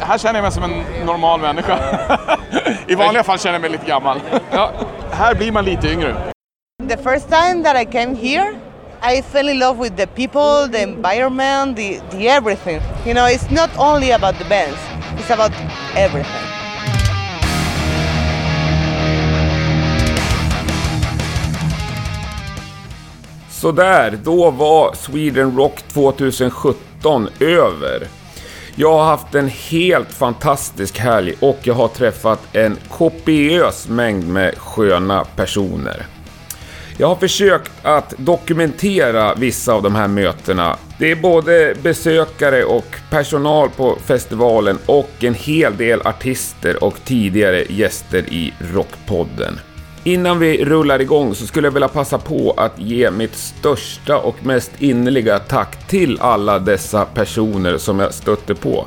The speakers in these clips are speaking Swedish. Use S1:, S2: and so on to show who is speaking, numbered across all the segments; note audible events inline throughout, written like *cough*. S1: här känner jag mig som en normal människa. I vanliga fall känner jag mig lite gammal. Ja, här blir man lite yngre.
S2: The first time that I came here, I fell in love with the people, the environment, the, the everything. You know, it's not only about the bands, it's about everything.
S3: Sådär, då var Sweden Rock 2017 över. Jag har haft en helt fantastisk helg och jag har träffat en kopiös mängd med sköna personer. Jag har försökt att dokumentera vissa av de här mötena. Det är både besökare och personal på festivalen och en hel del artister och tidigare gäster i Rockpodden. Innan vi rullar igång så skulle jag vilja passa på att ge mitt största och mest innerliga tack till alla dessa personer som jag stötte på.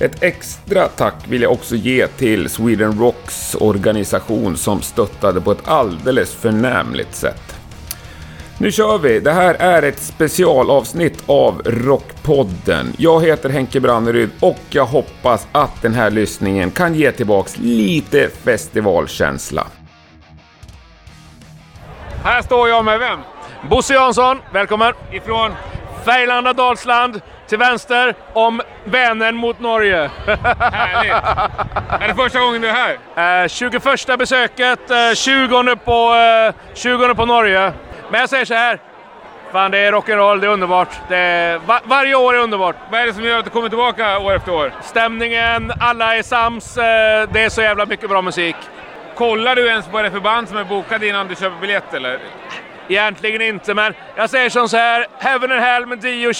S3: Ett extra tack vill jag också ge till Sweden Rocks organisation som stöttade på ett alldeles förnämligt sätt. Nu kör vi! Det här är ett specialavsnitt av Rockpodden. Jag heter Henke Branneryd och jag hoppas att den här lyssningen kan ge tillbaks lite festivalkänsla.
S4: Här står jag med vem? Bosse Jansson, välkommen! Ifrån? Färgelanda, Dalsland, till vänster om Vänern mot Norge. *laughs*
S1: Härligt! Är det första gången du är här?
S4: Eh, 21 besöket, eh, 20 på, eh, 20 på Norge. Men jag säger så här. Fan, det är rock'n'roll, det är underbart. Det är, va- varje år är underbart.
S1: Vad är det som gör att du kommer tillbaka år efter år?
S4: Stämningen, alla är sams, eh, det är så jävla mycket bra musik.
S1: Kollar du ens vad det är för band som är bokade innan du köper biljett eller?
S4: Egentligen inte, men jag säger som så här.
S3: *laughs*
S4: Heaven and Hell med Dio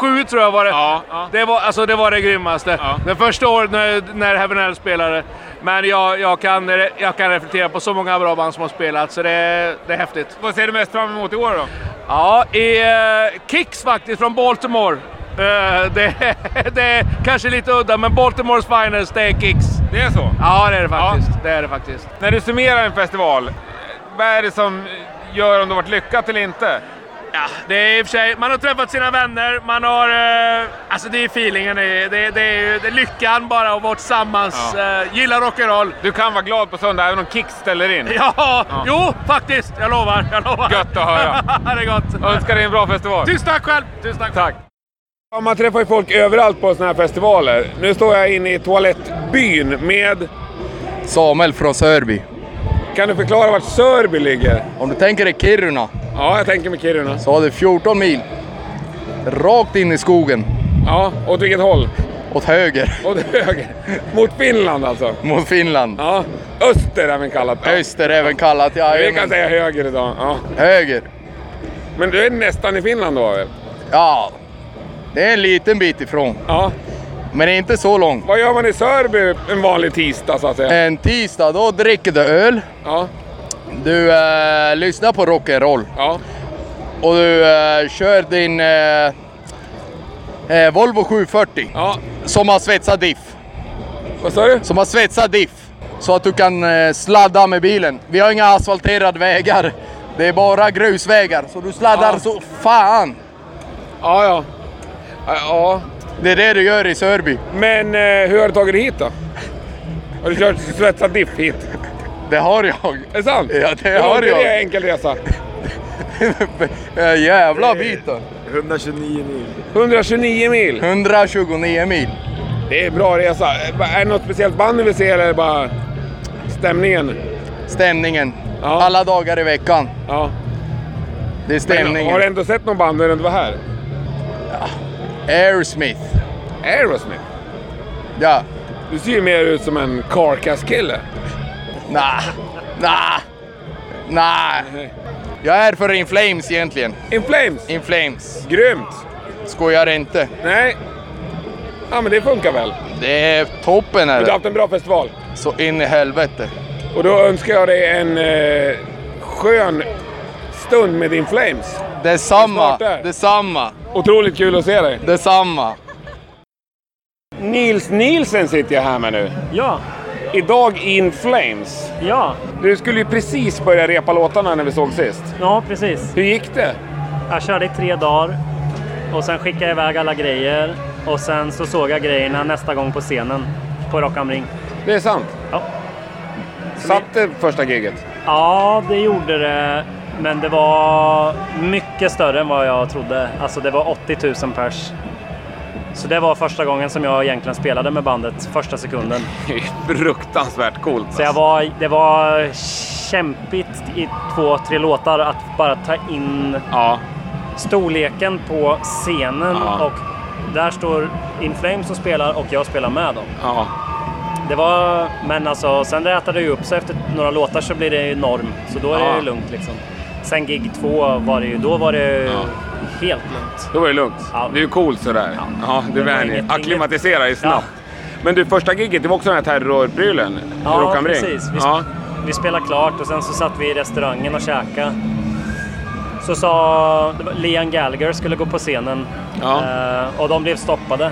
S4: 2007 tror jag var det.
S1: Ja, ja.
S4: Det, var, alltså, det var det grymmaste.
S1: Ja.
S4: Det första året när, när Heaven and Hell spelade. Men jag, jag, kan, jag kan reflektera på så många bra band som har spelat, så det, det är häftigt.
S1: Vad ser du mest fram emot i år då?
S4: Ja, i eh, Kicks faktiskt från Baltimore. Eh, *laughs* det, det är kanske lite udda, men Baltimores finest, det är Kicks.
S1: Det är så?
S4: Ja, det är det faktiskt. Det är det faktiskt.
S1: När du summerar en festival, vad är det som gör om det har varit lyckat eller inte?
S4: Ja, det är i och för sig, man har träffat sina vänner, man har... Eh, alltså det är feelingen, det är, det, det är, ju- det är lyckan bara att vara tillsammans.
S1: Ja.
S4: Eh, gilla rock'n'roll.
S1: Du kan vara glad på söndag även om Kicks ställer in.
S4: *laughs* Ja, jo faktiskt, jag lovar. Jag lovar.
S1: Gött att höra.
S4: *laughs* det är gott.
S1: Önskar dig en bra festival.
S4: Tusen tack själv! Tusen tack.
S1: Tack!
S3: Ja, man träffar ju folk överallt på såna här festivaler. Nu står jag inne i toalettbyn med...
S5: Samuel från Sörby.
S3: Kan du förklara vart Sörby ligger?
S5: Om du tänker dig Kiruna
S3: Ja, jag tänker med Kiruna.
S5: så har du 14 mil rakt in i skogen
S3: Ja, åt vilket håll?
S5: åt höger
S3: Åt höger. Mot Finland alltså.
S5: mot Finland.
S3: Ja, öster även kallat. Ja.
S5: Öster även kallat. Ja,
S3: Vi kan
S5: jajamän.
S3: säga höger idag. Ja.
S5: höger.
S3: Men du är nästan i Finland då? väl?
S5: Ja, det är en liten bit ifrån,
S3: Ja.
S5: men inte så långt.
S3: Vad gör man i Sörby en vanlig tisdag så att säga?
S5: En tisdag, då dricker du öl,
S3: Ja,
S5: du eh, lyssnar på rock'n'roll
S3: ja,
S5: och du eh, kör din eh, eh, Volvo 740
S3: ja.
S5: som har svetsad diff.
S3: Vad sa du?
S5: som har svetsad diff så att du kan eh, sladda med bilen. Vi har inga asfalterade vägar. Det är bara grusvägar, så du sladdar
S3: Ja.
S5: så fan.
S3: Ja, ja. Ja, ja.
S5: Det är det du gör i Sörby.
S3: Men eh, hur har du tagit dig hit då? Har du kört svetsad diff hit?
S5: Det har jag.
S3: Är det sant?
S5: Ja, det
S3: Hur
S5: har
S3: långt är Det
S5: jag.
S3: en
S5: *laughs*
S3: enkel resa.
S5: Eh, Jävla biten.
S6: 129 mil.
S3: 129 mil.
S5: 129 mil.
S3: Det är bra resa. Är det något speciellt band du vill se eller är det bara stämningen?
S5: Stämningen.
S3: Ja.
S5: Alla dagar i veckan.
S3: Ja.
S5: Det är
S3: Men,
S5: stämningen.
S3: har du ändå sett någon band när du inte var här?
S5: Aerosmith.
S3: Aerosmith?
S5: Ja.
S3: Du ser ju mer ut som en carcass-kille.
S5: Nah. Nah. Nah. Jag är för In Flames egentligen.
S3: In Flames!
S5: In Flames.
S3: Grymt!
S5: Skojar inte.
S3: Nej. Ja, men det funkar väl.
S5: Det är toppen är
S3: Du har
S5: det.
S3: haft en bra festival.
S5: Så in i helvete.
S3: Och då önskar jag dig en eh, skön stund med In Flames.
S5: Detsamma,
S3: Det är snart där.
S5: detsamma,
S3: Otroligt kul att se dig.
S5: detsamma.
S3: Nils Nielsen sitter jag här med nu.
S7: Ja,
S3: Idag In Flames.
S7: ja,
S3: Du skulle ju precis börja repa låtarna när vi såg sist.
S7: ja precis.
S3: Hur gick det?
S7: Jag körde i tre dagar och sen skickade jag iväg alla grejer.
S6: Och sen så såg jag grejerna nästa gång på scenen på Rock am Ring.
S3: Det är sant.
S6: Ja.
S3: Satt det första giget?
S6: Ja, det gjorde det. Men det var mycket större än vad jag trodde. Alltså det var 80 000 pers. Så det var första gången som jag egentligen spelade med bandet, första sekunden.
S3: *laughs* Det är fruktansvärt coolt. alltså.
S6: Så jag var, det var kämpigt i två, tre låtar att bara ta in
S3: Ja,
S6: storleken på scenen.
S3: Ja.
S6: Och där står In Flames och spelar och jag spelar med dem.
S3: ja.
S6: Det var, men alltså, sen rätade det ju upp sig efter några låtar så blir det ju norm. Så då är det
S3: Ja.
S6: ju lugnt liksom. Sen gig två var det ju, då var det ju
S3: Ja.
S6: helt lugnt.
S3: Då var det lugnt.
S6: Ja.
S3: Du är cool sådär. Ja,
S6: Ja.
S3: du
S6: Det var
S3: vänjer
S6: inget-
S3: Acklimatisera dig snabbt. Men du, första giget det var också den här terrorprylen? Rock
S6: Ja,
S3: am Ring.
S6: precis. Vi,
S3: Ja.
S6: vi spelade klart och sen så satt vi i restaurangen och käkade. Så sa det var Liam Gallagher skulle gå på scenen
S3: Ja.
S6: Eh, och de blev stoppade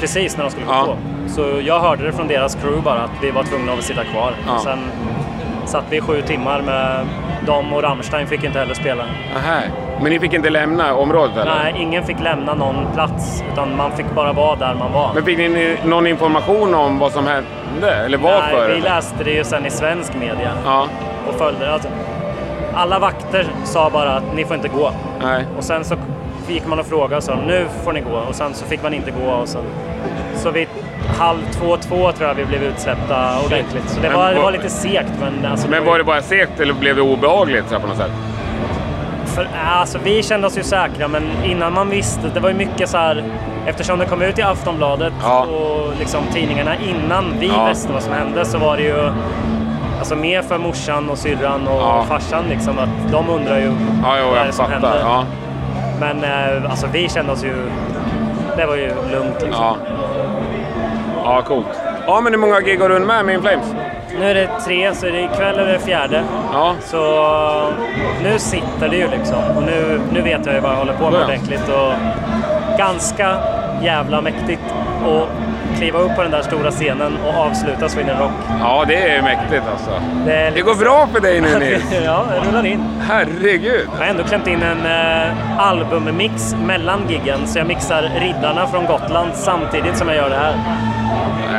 S6: precis när de skulle gå
S3: Ja.
S6: på. Så jag hörde det från deras crew bara att vi var tvungna att sitta kvar.
S3: Ja.
S6: Sen satt vi i sju timmar med dem och Rammstein fick inte heller spela.
S3: Aha. Men ni fick inte lämna området eller?
S6: Nej, ingen fick lämna någon plats utan man fick bara vara där man var.
S3: Men fick ni någon information om vad som hände? Eller varför?
S6: Nej, vi läste det ju sen i svensk media
S3: Ja,
S6: och följde det. Alltså, alla vakter sa bara att ni får inte gå.
S3: nej.
S6: Och sen så gick man och frågade och sa nu får ni gå och sen så fick man inte gå. Och sen, så vid halv två, två tror jag vi blev utsläppta ordentligt. Så det
S3: Men
S6: var, det
S3: var-
S6: var lite segt. Men, alltså,
S3: Men var det bara segt eller blev det obehagligt så här, på något sätt?
S6: För, alltså, vi kände oss ju säkra, men innan man visste, det var ju mycket så här... Eftersom det kom ut i Aftonbladet
S3: Ja.
S6: och liksom tidningarna innan vi
S3: Ja.
S6: visste vad som hände så var det ju alltså, mer för morsan och syrran och
S3: Ja.
S6: farsan liksom, att de undrar ju
S3: Ja, jo,
S6: vad är
S3: jag
S6: det som
S3: fattar.
S6: hände.
S3: Ja,
S6: Men eh, alltså, vi kände oss ju... Det var ju lugnt. Liksom.
S3: ja. ja, coolt. Ja, men hur många gig har du hunnit med med Inflames?
S6: Nu är det tre, så det är ikväll är det fjärde.
S3: Ja,
S6: Så nu sitter det ju liksom. Och nu, nu vet jag ju vad jag håller på med
S3: Ja.
S6: ordentligt. Och ganska jävla mäktigt att kliva upp på den där stora scenen och avsluta Sweden Rock.
S3: ja det är mäktigt alltså.
S6: Det, är
S3: Det
S6: lite
S3: går bra för dig nu Nils.
S6: *laughs* ja, det rullar in.
S3: Herregud.
S6: Jag har ändå klämt in en eh, albummix mellan giggen. Så jag mixar Riddarna från Gotland samtidigt som jag gör det här.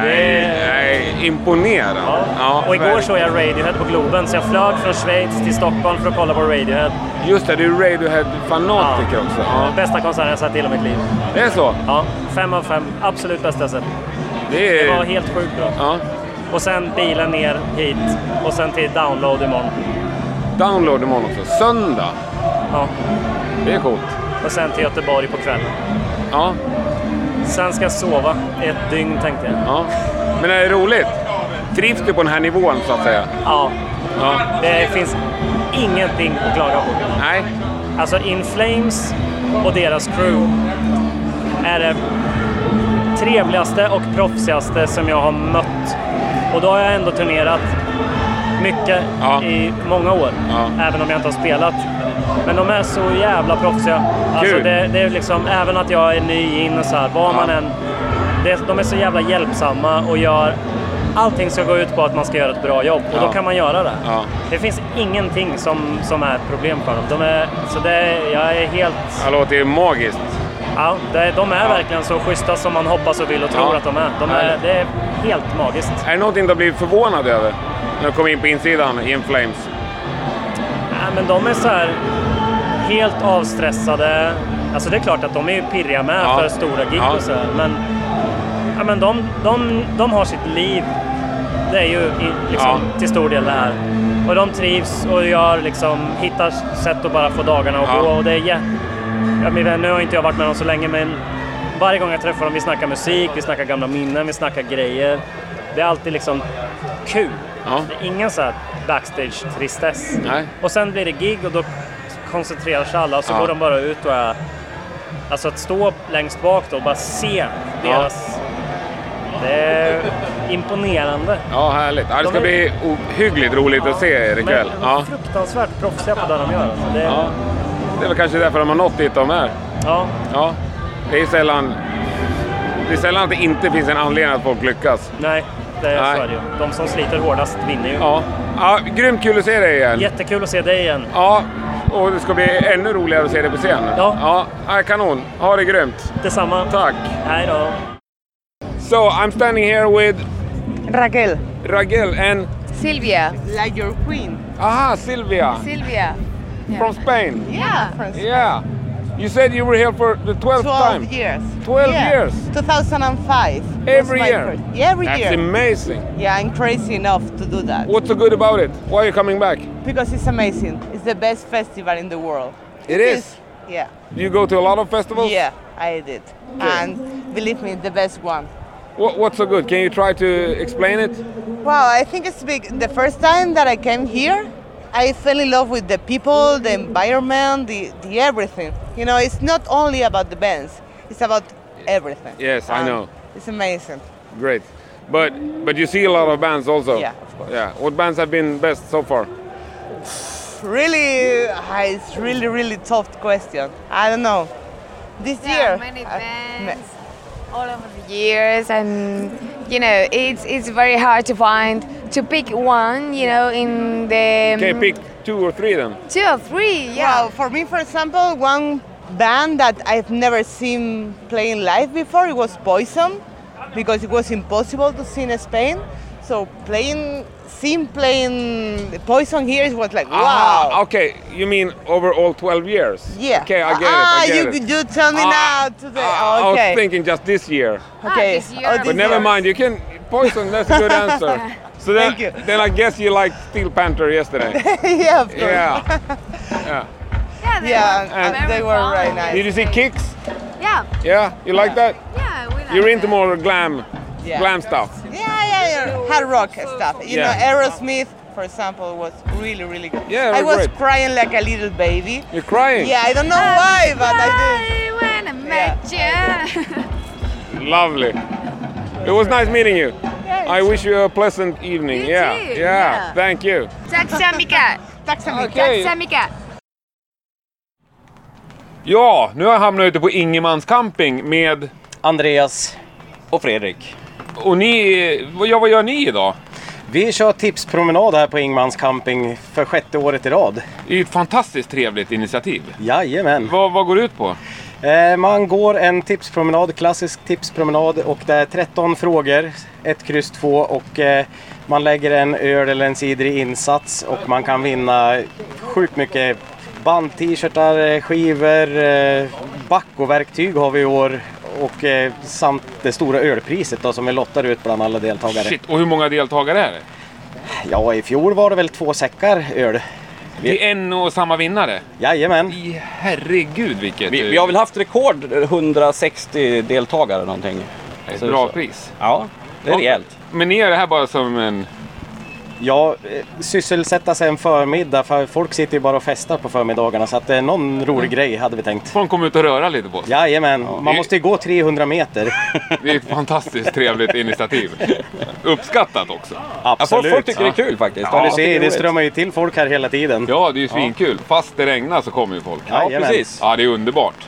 S3: Nej, nej, imponerande.
S6: Ja.
S3: Ja,
S6: och igår
S3: verkligen.
S6: såg jag Radiohead på Globen, så jag flög från Schweiz till Stockholm för att kolla på Radiohead.
S3: Just det, du är Radiohead-fanatiker också. Ja.
S6: Bästa konserten jag sett i hela mitt liv.
S3: Det är så?
S6: Ja, fem av fem. Absolut bästa jag sett.
S3: Det
S6: Det
S3: är...
S6: var helt sjukt bra.
S3: ja.
S6: Och sen bilen ner hit och sen till download imorgon.
S3: Download imorgon också. Söndag.
S6: Ja.
S3: Det är coolt.
S6: Och sen till Göteborg på kvällen.
S3: Ja,
S6: Sen ska jag sova ett dygn tänkte jag.
S3: ja. Men är det roligt? Trivs du på den här nivån så att säga?
S6: Ja,
S3: Ja.
S6: det finns ingenting att klaga på.
S3: Nej.
S6: Alltså In Flames och deras crew är det trevligaste och proffsigaste som jag har mött. Och då har jag ändå turnerat mycket
S3: Ja.
S6: i många år,
S3: Ja.
S6: även om jag inte har spelat. Men de är så jävla proffsiga. Alltså
S3: Kul.
S6: det, det är liksom, även att jag är ny in och så här, var man än... Det, de är så jävla hjälpsamma och gör... Allting ska gå ut på att man ska göra ett bra jobb och
S3: Ja.
S6: då kan man göra det.
S3: Ja.
S6: Det finns ingenting som, som är ett problem för dem. De är, så det, är- jag är helt...
S3: Det låter ju magiskt.
S6: Ja, det, de är verkligen så schyssta som man hoppas och vill och tror
S3: Ja.
S6: att de är. De är det är helt magiskt.
S3: Är det någonting du har blivit förvånad över? När du kom in på insidan i In Flames?
S6: Nej, men de är så här helt avstressade. Alltså det är klart att de är ju pirriga med
S3: Ja.
S6: för stora gig
S3: Ja.
S6: och så här, men, ja, men de, de, de har sitt liv. Det är ju i- liksom,
S3: Ja.
S6: till stor del det här. Och de trivs och gör liksom, hittar sätt att bara få dagarna att
S3: Ja.
S6: gå. Och det är jä- ja, min vän, nu har inte jag varit med dem så länge, men varje gång jag träffar dem, vi snackar musik, vi snackar gamla minnen, vi snackar grejer. Det är alltid liksom kul.
S3: Ja.
S6: Det är ingen så här backstage-tristess.
S3: Nej.
S6: Och sen blir det gig och då koncentrerar sig alla och så
S3: Ja.
S6: går de bara ut och är... Alltså att stå längst bak då och bara se deras... Det är imponerande.
S3: Ja, härligt. Ja, det ska
S6: De
S3: bli
S6: är-
S3: ohyggligt roligt att se er ikväll.
S6: Men de är
S3: Ja.
S6: fruktansvärt proffsiga på det de gör. Alltså det,
S3: Ja.
S6: ja.
S3: Det är väl kanske därför de har nått dit de är. Ja. Det är sällan... Det är sällan att det inte finns en anledning att folk lyckas.
S6: nej, det är
S3: Nej.
S6: så är det ju. De som sliter hårdast vinner ju.
S3: Ja. ja grymt kul att se dig igen.
S6: Jättekul att se dig igen.
S3: Ja, Och det ska bli ännu roligare att se dig på scen.
S6: Ja.
S3: ja kanon. Ha det grymt.
S6: Detsamma.
S3: Tack.
S6: Hej då.
S3: So I'm standing here with
S2: Raquel,
S3: Raquel and
S8: Silvia.
S2: like your queen.
S3: aha Silvia
S8: Silvia.
S3: from Spain.
S2: Yeah.
S3: Yeah. You said you were here for the 12th
S2: 12
S3: time.
S2: years.
S3: 12
S2: Yeah.
S3: years.
S2: 2005. was
S3: Every
S2: my
S3: year.
S2: first- Yeah, every
S3: That's
S2: year.
S3: amazing.
S2: yeah, I'm crazy enough to do that
S3: What's so good about it? Why are you coming back?
S2: because it's amazing. It's the best festival in the world.
S3: It is.
S2: Yeah.
S3: You go to a lot of festivals?
S2: Yeah, I did. And believe me, the best one.
S3: What, what's so good? Can you try to explain it?
S2: Wow, I think it's big. The first time that I came here, I fell in love with the people, the environment, the, the everything. You know, it's not only about the bands, it's about everything.
S3: Yes, I
S2: And
S3: know.
S2: It's amazing.
S3: Great. But but you see a lot of bands also.
S2: Yeah, Um, of course.
S3: Yeah. What bands have been best so far?
S2: Really, uh, it's really, really tough question. I don't know. This
S8: Yeah,
S2: year. uh,
S8: many
S2: I-
S8: bands, all over the years, and you know, it's it's very hard to find to pick one. You know, in the
S3: Okay,
S8: mm,
S3: pick two or three then.
S8: two or three.
S2: Well,
S8: Yeah.
S2: for me, for example, one band that I've never seen playing live before it was Poison, because it was impossible to see in Spain. So playing, seeing playing Poison here it was like wow.
S3: Ah, okay. You mean over all 12 years?
S2: Yeah.
S3: Okay, I get it.
S2: ah,
S3: I get
S2: you,
S3: it.
S2: you tell me
S3: Ah,
S2: now today.
S3: ah, I
S2: okay.
S3: was thinking just this year.
S2: okay.
S8: Ah,
S2: Oh,
S8: this year.
S3: But
S8: This
S3: never
S8: year.
S3: mind, you can poison, that's a good
S2: *laughs*
S3: answer. So then,
S2: Thank you.
S3: then I guess you liked Steel Panther yesterday.
S2: *laughs* yeah, of course. *laughs*
S3: yeah.
S8: yeah, they
S2: Yeah,
S8: were
S2: and
S8: very
S2: they were
S8: fun.
S2: very nice.
S3: Did you see Kicks?
S8: Yeah,
S3: Yeah, you like that?
S8: yeah. We like
S3: You're into
S8: that.
S3: more glam,
S2: Yeah.
S3: glam stuff.
S2: Yeah, yeah, yeah. hard rock stuff. You
S3: Yeah.
S2: know, Aerosmith, for example, was really, really good.
S3: Yeah,
S2: I
S3: they're
S2: was
S3: great.
S2: crying like a little baby.
S3: You're crying.
S2: Yeah, I don't know
S8: Um,
S2: why, but I did.
S8: Why when I met *laughs* you.
S3: Lovely. It was nice meeting you. I wish you a pleasant evening.
S8: You
S3: yeah.
S8: too,
S3: yeah.
S8: yeah.
S3: Thank you.
S8: Tack så mycket.
S2: Tack så mycket.
S8: Tack så mycket.
S3: Ja, nu har jag hamnat ute på Ingemans camping med...
S9: Andreas och Fredrik.
S3: Och ni... vad- Ja, vad gör ni idag?
S9: Vi kör tipspromenad här på Ingmans camping för sjätte året i rad.
S3: Det är ju ett fantastiskt trevligt initiativ.
S9: Jajamän.
S3: Vad, vad går det ut på?
S9: Eh, Man går en tipspromenad, klassisk tipspromenad och det är 13 frågor, ett kryss två och eh, man lägger en öl eller en cider i insats och man kan vinna sjukt mycket band, t-shirtar, eh, skivor, eh, backoverktyg har vi i år och eh, samt det stora ölpriset då, som vi lottar ut bland alla deltagare.
S3: Shit, och hur många deltagare är det?
S9: Ja, i fjol var det väl två säckar öl.
S3: Det är en och samma vinnare.
S9: Jajamän.
S3: I herregud vilket... eh,
S10: Vi, vi har väl haft rekord, 160 deltagare någonting.
S3: Ett
S10: Så-
S3: bra
S10: så-
S3: pris.
S10: Ja, det är rejält.
S3: Men ni gör det här bara som en...
S9: Ja, eh, sysselsätta sig en förmiddag för folk sitter ju bara och festar på förmiddagarna så att det är någon rolig grej hade vi tänkt.
S3: Mm. Folk kommer ut och röra lite på sig.
S9: Jajamän, man
S3: det-
S9: måste ju gå 300 meter.
S3: Det är ett fantastiskt trevligt initiativ. Uppskattat också.
S10: Ja, folk, folk
S9: Absolut.
S10: tycker det är kul faktiskt.
S9: Ja,
S10: De
S9: du
S10: tycker
S9: ser,
S10: är
S9: det
S10: roligt.
S9: strömmar ju till folk här hela tiden.
S3: Ja, det är ju svinkul. Fast det regnar så kommer ju folk.
S10: Ja,
S9: Jajamän.
S10: precis.
S3: Ja, det är underbart.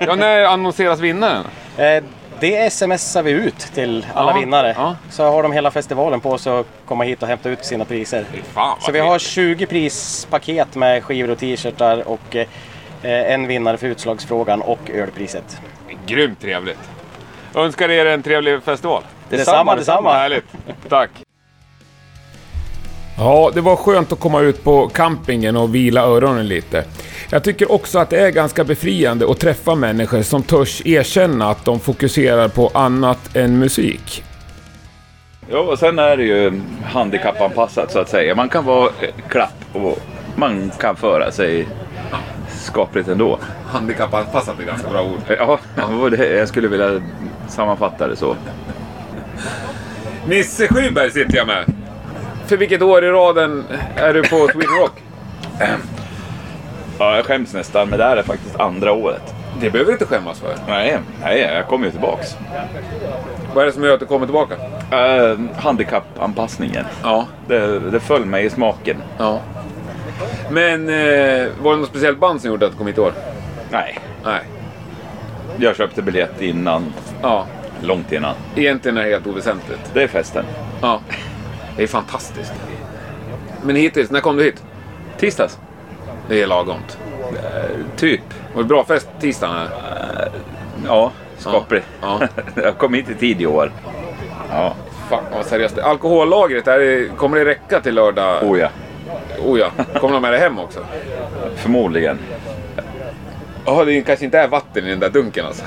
S3: Ja, när annonseras vinnaren?
S9: Eh, Det smsar vi ut till alla
S3: Ja,
S9: vinnare.
S3: ja.
S9: Så har de hela festivalen på sig att komma hit och hämta ut sina priser.
S3: Fan vad
S9: Så vi har
S3: trevligt.
S9: 20 prispaket med skivor och t-shirtar och eh, en vinnare för utslagsfrågan och ölpriset.
S3: Grymt trevligt. Önskar er en trevlig festival.
S9: Detsamma, detsamma.
S3: Härligt. Tack. Ja, det var skönt att komma ut på campingen och vila öronen lite. Jag tycker också att det är ganska befriande att träffa människor som törs erkänna att de fokuserar på annat än musik.
S11: Ja, och sen är det ju handikappanpassat så att säga. Man kan vara eh, klapp och man kan föra sig skapligt ändå.
S3: Handikappanpassat är ganska bra ord.
S11: Ja, det var det jag skulle vilja sammanfatta det så.
S3: Nisse Skyberg sitter jag med. För vilket år i raden är du på Sweden Rock?
S11: Ja, jag skäms nästan, men det här är faktiskt andra året.
S3: Det behöver du inte skämmas för.
S11: Nej, nej jag kommer ju tillbaks.
S3: Vad är det som gör att du kommer tillbaka?
S11: Eh, handikappanpassningen.
S3: Ja.
S11: Det, det föll mig i smaken.
S3: ja. Men eh, var det något speciellt band som gjorde att du kom hit i år?
S11: Nej,
S3: Nej.
S11: jag köpte biljett innan.
S3: Ja.
S11: Långt innan.
S3: Egentligen är det helt oväsentligt.
S11: Det är festen.
S3: Ja. Det är fantastiskt. Men hittills, när kom du hit?
S11: Tisdags.
S3: Det är lagomt.
S12: Typ. Eh,
S3: Var det bra fest tisdagen? Här?
S12: Ja, skaplig. *laughs* Jag kom hit i tid i år.
S3: Ja. Fan vad seriöst. Alkohollagret, är det, kommer det räcka till lördag?
S12: Oh ja.
S3: Oh ja. Kommer de med det hem också?
S12: Förmodligen.
S3: Ja, det kanske inte är vatten i den där
S12: *laughs*
S3: dunken alltså.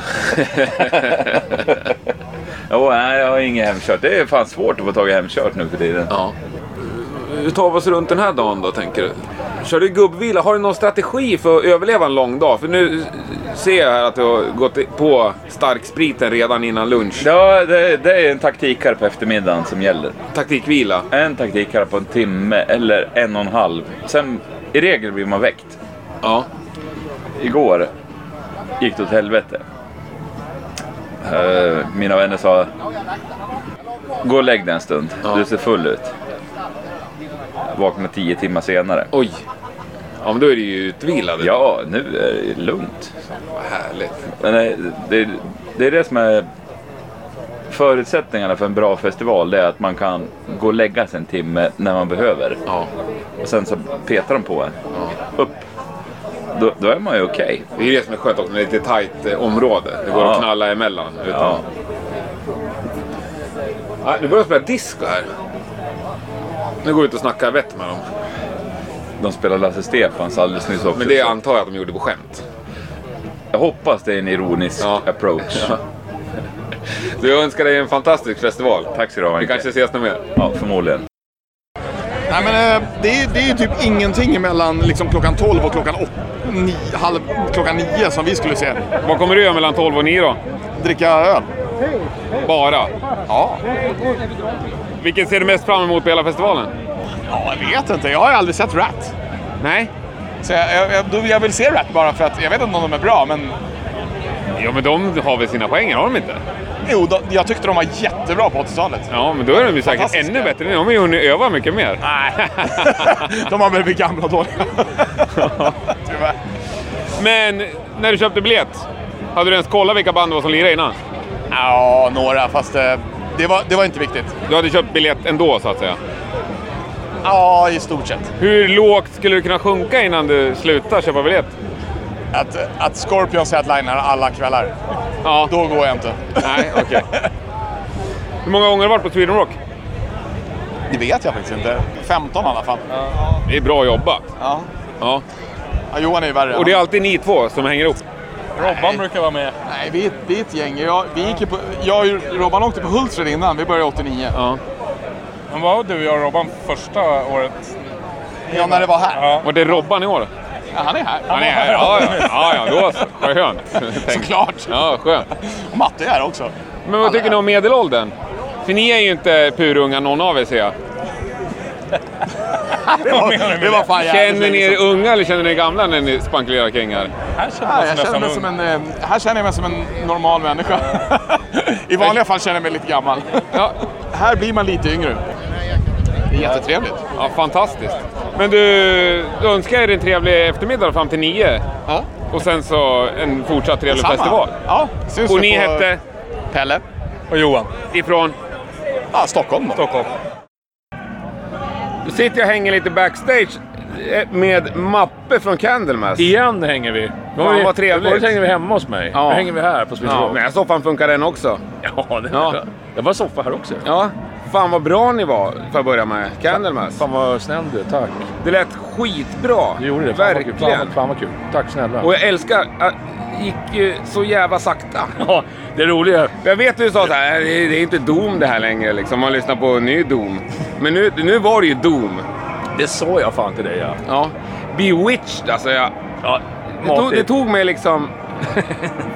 S12: Jo, nej, jag har inget hemkört. Det är fan svårt att få tag i hemkört nu för tiden.
S3: Ja. Hur tar vi oss runt den här dagen då, tänker du? Kör du gubbvila? Har du någon strategi för att överleva en lång dag? För nu ser jag här att du har gått på starkspriten redan innan lunch.
S12: Ja, det, det är en taktik här på eftermiddagen som gäller.
S3: Taktikvila?
S12: En taktik här på en timme eller en och en halv. Sen i regel blir man väckt.
S3: Ja.
S12: Igår gick det åt helvete. Eh, Mina vänner sa, gå och lägg dig en stund. Du ser full ut. Vaknade tio timmar senare.
S3: Oj. Ja, men då är du ju utvilad.
S12: Ja, nu är det lugnt.
S3: Vad härligt.
S12: Men det- det, det är det som är förutsättningarna för en bra festival. Det är att man kan gå och lägga sig en timme när man behöver.
S3: Ja.
S12: Och sen så petar de på en. Upp. Då, då är man ju okej.
S3: Det är ju det som är skönt också, när det är lite tajt eh, område. Det går
S12: Ja.
S3: att knalla emellan. Utan...
S12: Ja.
S3: Ja, nu börjar de spela disco här. Nu går jag ut och snackar vett med dem.
S12: De spelar Lasse Stefans alldeles nyss också.
S3: Men det antar jag att de gjorde på skämt.
S12: Jag hoppas det är en ironisk approach.
S3: *laughs* Du, jag önskar dig en fantastisk festival.
S12: Tack ska du ha,
S3: Vi
S12: Henke.
S3: kanske ses något mer.
S12: Ja, förmodligen.
S13: Nej, men eh, det är, det är ju typ ingenting
S3: *laughs*
S13: mellan liksom, klockan 12 och klockan, åt- ni, halv, klockan 9 som vi skulle se.
S3: Vad kommer du göra mellan 12 och 9 då?
S13: Dricka öl.
S3: Bara?
S13: Ja.
S3: Vilken ser du mest fram emot på hela festivalen?
S13: Ja, jag vet inte. Jag har ju aldrig sett Rat.
S3: Nej.
S13: Så jag, jag, jag, då- jag vill se Rat bara för att jag vet inte om de är bra, men
S3: Ja, men de har väl sina poänger, har de inte?
S13: jo, de, jag tyckte de var jättebra på 80-talet.
S3: Ja, men då är de ju säkert
S13: Fantastiska.
S3: ännu bättre. De har ju hunnit öva mycket mer.
S13: Nej.
S3: *laughs*
S13: *laughs* de har väl blivit gamla och dåliga. Tyvärr.
S3: Men när du köpte biljett, hade du ens kollat vilka band det var som lirade innan?
S13: Ja, några, fast eh, det var, det var inte viktigt.
S3: Du hade köpt biljett ändå, så att säga.
S13: Ja, i stort sett.
S3: Hur lågt skulle du kunna sjunka innan du slutar köpa biljett?
S13: Att, att Scorpion headlinar alla kvällar,
S3: Ja.
S13: då går jag inte.
S3: Nej, okej. Hur många gånger har du varit på Sweden Rock?
S13: Det vet jag faktiskt inte. 15 i alla fall.
S3: Det är bra jobbat.
S13: Ja.
S3: Ja.
S13: Ja, Johan är ju värre.
S3: Och det är alltid ni två som hänger ihop?
S13: Robban
S4: brukar vara med.
S13: Nej, vi, vi är ett gäng. Jag, vi gick ju på, jag och Robban åkte på Hultsfred innan. Vi började 89.
S3: Ja.
S4: Men var du och jag och Robban första året?
S13: Ja, när det var här.
S4: Ja.
S3: Var det Robban i år?
S13: Ja, han är här.
S3: Han är här? Ja, ja, ja, ja då så. Vad skönt.
S13: *laughs* Såklart.
S3: Ja, skönt.
S13: Och Matte är här också.
S3: Men vad tycker ni om medelåldern? För ni är ju inte purunga någon av er ser jag.
S13: Det var, det var fan jävligt
S3: Känner ni
S13: länge
S3: er
S13: sedan.
S3: unga eller känner ni er gamla när ni spankulerar kring här?
S4: Här känner
S13: Nej, jag känner mig som en, eh, här känner jag mig som en normal människa. I vanliga fall känner jag mig lite gammal.
S3: Ja,
S13: Här blir man lite yngre. Det är jättetrevligt.
S3: ja fantastiskt. Men du, du önskar er en trevlig eftermiddag fram till nio.
S13: Ja.
S3: Och sen så en fortsatt trevlig
S13: Detsamma.
S3: festival.
S13: Ja, syns
S3: Och
S13: vi
S3: ni
S13: på
S3: hette
S13: Pelle.
S4: Och Johan.
S3: ifrån?
S13: Ja, Stockholm då.
S4: Stockholm.
S3: Nu sitter jag och hänger lite backstage eh, med Mappe från Candlemass.
S4: Igen hänger vi. Nu
S3: Fan,
S4: vi-
S3: vad trevligt.
S4: Förut hängde vi hemma hos mig.
S3: Ja.
S4: Nu hänger vi här på Swedish
S3: Ja,
S4: Rock.
S3: men den här soffan funkar den också.
S4: Ja, det
S3: Ja.
S4: Jag var soffa här också.
S3: Ja, fan vad bra ni var för att börja med. Candlemass.
S4: Fan vad snäll du är, tack.
S3: Det lät skitbra.
S4: Du gjorde det. Fan vad kul.
S3: Verkligen.
S4: Fan, fan vad kul. Tack snälla.
S3: Och jag älskar att det gick ju så jävla sakta.
S4: Ja, det roliga är...
S3: Jag vet du sa så här, "Äh, det är det är inte Doom det här längre liksom. Man lyssnar på ny Doom. Men nu, nu var det ju Doom.
S4: Det sa jag fan till dig ja.
S3: Ja. Bewitched alltså. Jag,
S4: ja
S3: det, tog, det
S4: matigt.
S3: tog mig liksom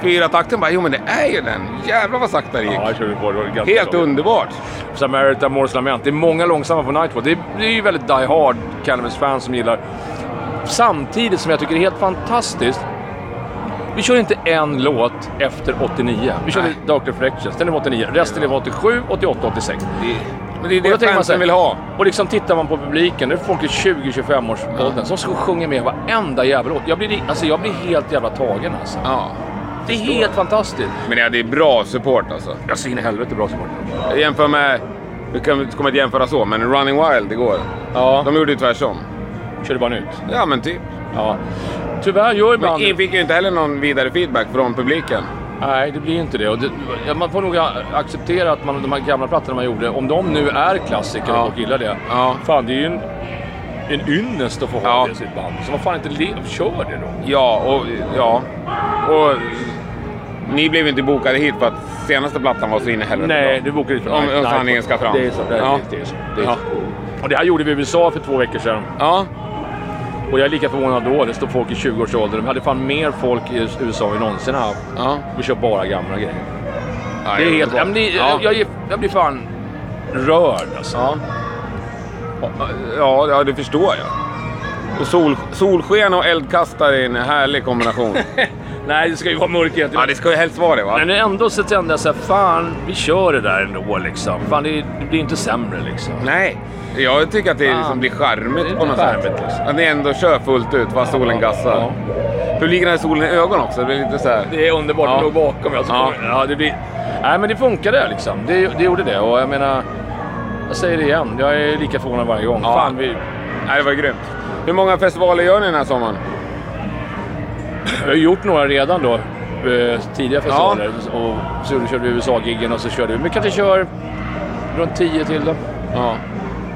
S3: fyra takter bara, jo men det är ju den. Jävlar vad sakta det gick.
S4: Ja, jag körde på. Det var ganska
S3: Helt
S4: bra.
S3: underbart.
S4: Samaritan Morse Lament. Det är många långsamma på Nightwatch. Det är, det är ju väldigt die hard Cannabis fans som gillar. Samtidigt som jag tycker det är helt fantastiskt. Vi kör inte en låt efter 89. Vi körde
S3: Nej.
S4: Dr. Fractions, den är 89. Resten är 87, 88, 86.
S3: Men det är
S4: Och då tänker
S3: det
S4: man så här-
S3: fansen vill ha.
S4: Och liksom tittar man på publiken, det är folk i 20-25 års åldern som ska sjunga med varenda jävla låt. Jag blir, alltså, jag blir helt jävla tagen alltså.
S3: Ja.
S4: Det är helt fantastiskt.
S3: Men ja, det är bra support alltså.
S4: Jag ser in i helvete bra support.
S3: Jag jämför med, vi kan- kommer inte jämföra så, men Running Wild igår.
S4: Ja.
S3: De gjorde ju tvärsom.
S4: Körde bara en ut.
S3: Ja men typ.
S4: Ja. Tyvärr gör ibland...
S3: Men ni fick ju inte heller någon vidare feedback från publiken.
S4: Nej, det blir inte det. Och det ja, man får nog acceptera att man, de här gamla plattorna man gjorde, om de nu är klassiker och folk gillar det. Fan, det är ju en, en ynnest att få ha det i sitt band. Så vad fan inte le- kör det då.
S3: Ja, och... Ja. Och... Ni blev ju inte bokade hit för att senaste plattan var så in i helvete
S4: Nej,
S3: bra.
S4: du bokade inte.
S3: Om,
S4: Nej,
S3: om
S4: nej.
S3: sanningen ska fram.
S4: Det är så. Det är,
S3: Ja.
S4: det är så. Det är så. Och det här gjorde vi i USA för två veckor sedan.
S3: Ja.
S4: Och jag är lika förvånad då. Det står folk i 20-årsåldern. De hade fan mer folk i USA än vi någonsin haft. Vi kör bara gamla grejer. det är
S3: jag
S4: helt...
S3: vet
S4: Ja, men det,
S3: vad. Ja.
S4: jag, jag, jag blir fan rörd *laughs* alltså.
S3: Ja, ja, det förstår jag. Och sol, solsken och eldkastare är en
S4: *laughs*
S3: härlig kombination.
S4: Nej, det ska ju vara mörkret.
S3: Ja, det ska ju helst vara det va?
S4: Men ändå så kände jag så här, fan vi kör det där ändå liksom. Fan det, det blir inte sämre liksom.
S3: Nej, jag tycker att det
S4: Fan.
S3: liksom blir charmigt
S4: Ah. Det är
S3: på något
S4: charmigt, liksom.
S3: sätt. Att ni ändå kör fullt ut fast solen gassar. Publiken har solen i ögonen också. Det blir lite så här...
S4: Det är underbart, de låg bakom jag ja. ja, det blir... Nej men det funkade liksom. Det, det gjorde det och jag menar... Jag säger det igen, jag är lika förvånad varje gång.
S3: Ja.
S4: Fan vi...
S3: Nej, det var grymt. Hur många festivaler gör ni den här sommaren?
S4: Jag har gjort några redan då. eh, Tidiga festivaler. Och så körde vi USA-giggen och så körde vi... Men vi kanske kör runt 10 till då.
S3: Ja.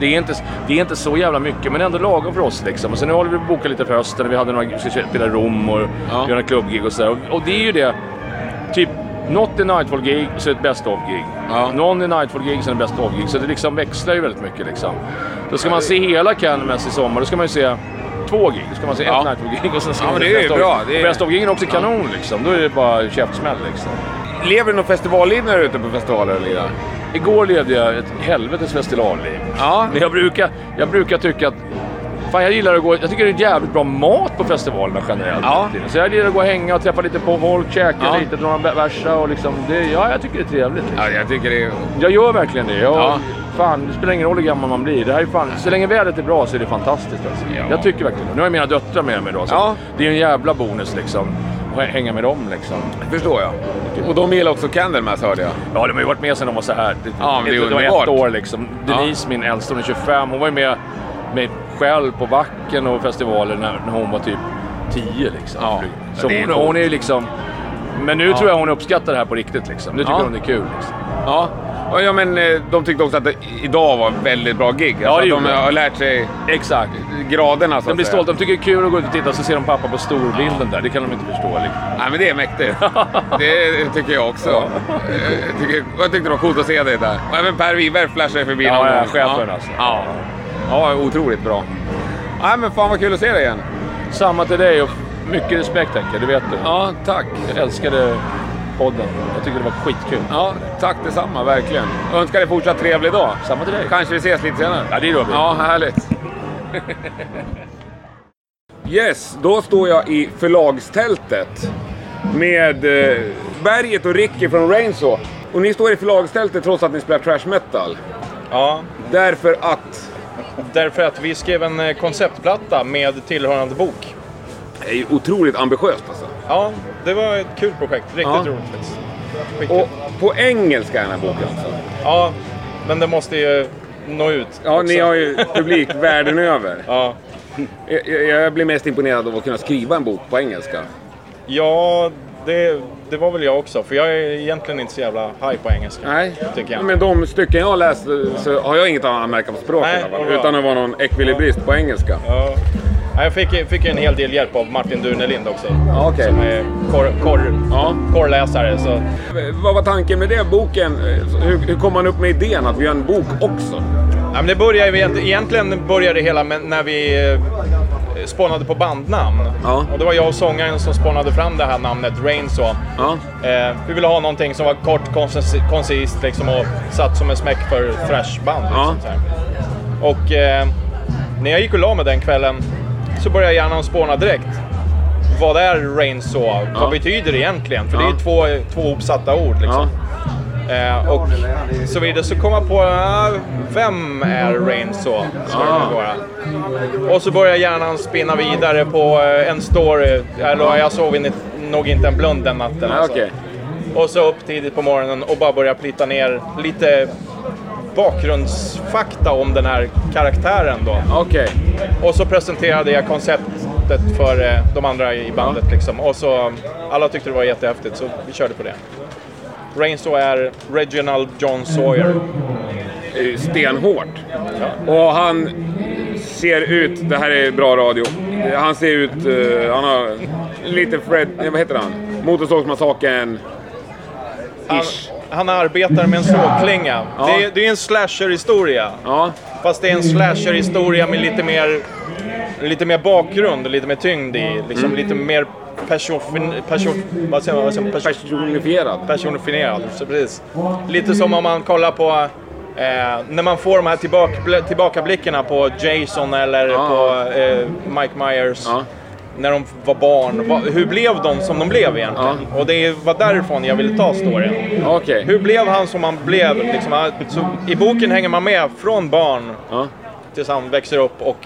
S4: Det är, inte, det är inte så jävla mycket, men ändå lagom för oss. Liksom. Och sen nu håller vi på att boka lite för hösten. Vi hade några, vi ska spela i Rom och göra några klubbgig och sådär. Och, och det är ju det. Typ, något är Nightfall-gig, så är det ett Best of-gig. Någon är Nightfall-gig, sen är det Best of-gig. Så det liksom växlar ju väldigt mycket. Liksom. Då ska man se hela Candlemass i sommar. Då ska man ju se två gig. Då ska man se
S3: Ja.
S4: ett Nightfall-gig och sen ska
S3: Ja,
S4: man
S3: men
S4: se
S3: det är
S4: Best
S3: ju
S4: of.
S3: bra. Det är-
S4: Och Best of-gigen är också kanon liksom. Då är det bara käftsmäll liksom.
S3: Lever du något festivalliv när du är ute på festivaler och lirar?
S4: Igår levde jag ett helvetes festivalliv. Men jag brukar, jag brukar tycka att... Fan, jag gillar att gå... Jag tycker det är jävligt bra mat på festivalerna generellt. Så jag gillar att gå och hänga och träffa lite på folk, käka
S3: Ja.
S4: lite, dra några värsta och liksom... Det, ja, jag tycker det är trevligt.
S3: Ja, jag tycker det är...
S4: Jag gör verkligen det. Jag,
S3: Ja.
S4: Fan, det spelar ingen roll hur gammal man blir. Det här är fan, så länge vädret är bra så är det fantastiskt. Alltså. Jag tycker verkligen det. Nu har jag mina döttrar med mig då. Så
S3: Ja.
S4: Det är en jävla bonus liksom. Att hänga med dem liksom.
S3: förstår jag. Och de gillar också Candlemass hörde jag.
S4: Ja, de har ju varit med sedan de var så här. Det,
S3: Ja, men det
S4: de
S3: är
S4: var
S3: underbart.
S4: ett år liksom. Denise, min äldsta, hon är 25. Hon var ju med mig själv på Backen och festivaler när, när hon var typ 10 liksom. Så
S3: Ja, det är
S4: hon,
S3: coolt.
S4: hon är ju liksom... Men nu
S3: Ja.
S4: tror jag hon uppskattar det här på riktigt liksom. Nu tycker
S3: Ja.
S4: hon det är kul. Liksom.
S3: Ja. Och Ja, men eh, de tyckte också att det, idag var ett väldigt bra gig.
S4: Ja,
S3: Alltså
S4: det
S3: att
S4: gjorde
S3: de
S4: det.
S3: har lärt sig
S4: Exakt.
S3: graderna så
S4: De
S3: att
S4: blir
S3: säga.
S4: stolta. De tycker det är kul att gå ut och titta så ser de pappa på storbilden där. Det kan de inte förstå. Liksom.
S3: Nej, men det är mäktigt. Det tycker jag också. Eh, Jag, tycker, jag tyckte det var coolt att se dig där. Och även Per Wiberg flashade förbi
S4: Ja,
S3: någon
S4: ja,
S3: gång.
S4: chefen
S3: ja.
S4: alltså.
S3: Ja. ja, otroligt bra. Nej, men fan vad kul att se dig igen.
S4: Samma till dig och mycket respekt Henke, det vet du.
S3: Ja, tack.
S4: Jag älskade podden. Jag tycker det var skitkul.
S3: Ja, tack detsamma, verkligen. Önskar
S4: *laughs*
S3: dig fortsatt trevlig dag.
S4: Samma till dig.
S3: Kanske vi ses lite senare.
S4: Ja, det gör vi.
S3: Ja, härligt. Yes, då står jag i förlagstältet med eh, Berget och Ricky från Rainsaw. Och ni står i förlagstältet trots att ni spelar trash metal.
S14: Ja.
S3: Därför att?
S14: Därför att vi skrev en eh, konceptplatta med tillhörande bok.
S3: Det är ju otroligt ambitiöst alltså.
S14: Ja, det var ett kul projekt. Riktigt
S3: Ja.
S14: roligt faktiskt.
S3: Och på engelska är den här boken alltså?
S14: Ja, men det måste ju nå ut.
S3: Ja,
S14: också.
S3: ni har ju
S14: *laughs*
S3: publik världen över.
S14: Ja.
S3: Jag, jag- jag blir mest imponerad av att kunna skriva en bok på engelska.
S14: Ja, det, det var väl jag också. För jag är egentligen inte så jävla high på engelska.
S3: Nej,
S14: tycker jag.
S3: Men de stycken jag läst
S13: eh,
S3: så har jag inget att anmärka på språket i alla fall.
S14: vad bra.
S3: Utan att vara någon ekvilibrist på engelska.
S14: Ja. Ja, Jag fick, fick ju en hel del hjälp av Martin Durnelind också.
S3: Ja, okej.
S14: Som är korr, korr, korrläsare. Så.
S3: Vad var tanken med det? Boken? eh, Hur, hur kom man upp med idén att vi gör en bok också?
S14: Ja, men det började, ju egent- egentligen började det hela med, när vi eh, spånade på bandnamn. Och det var jag och sångaren som spånade fram det här namnet Rainsaw. Eh, vi ville ha någonting som var kort, koncis- koncist liksom, och satt som en smäck för thrashband. Liksom, så här. Och eh, när jag gick och la mig den kvällen så började hjärnan spåna direkt. Vad är Rainsaw? Vad betyder det egentligen? För det är ju två, två uppsatta ord. Liksom. Eh, och så vidare. Så kom jag på, ah, vem är Rainsaw? Ska det nu vara. Och så börjar hjärnan spinna vidare på eh, en story. Eller jag sov in, nog inte en blund den natten.
S3: Nej, Ah,
S14: alltså.
S3: okej.
S14: Och så upp tidigt på morgonen och bara börja plitta ner lite bakgrundsfakta om den här karaktären då.
S3: Okej.
S14: Och så presenterade jag koncept, konceptet för eh, de andra i bandet. Liksom. Och så, alla tyckte det var jättehäftigt så vi körde på det. Rainsaw är Reginald John Sawyer.
S3: eh, Stenhårt. Och han ser ut, det här är bra radio, han ser ut, eh, han har lite Fred, nej, vad heter han? Motorsågsmassakern.
S14: Han, han arbetar med en sågklinga. Det, är- det är en slasher-historia. Fast det är en slasher-historia med lite mer, lite mer bakgrund och lite mer tyngd i. Liksom
S3: Mm.
S14: Lite mer person, person, vad säger man, vad säger man, person,
S3: personifierad.
S14: Personifierad, så precis. Lite som om man kollar på eh, när man får de här tillbaka, tillbakablickarna på Jason eller på eh, Mike Myers. När de var barn, vad- hur blev de som de blev egentligen? Och det var därifrån jag ville ta storyn.
S3: Okej.
S14: Hur blev han som han blev? Liksom, han- så I boken hänger man med från barn tills han växer upp och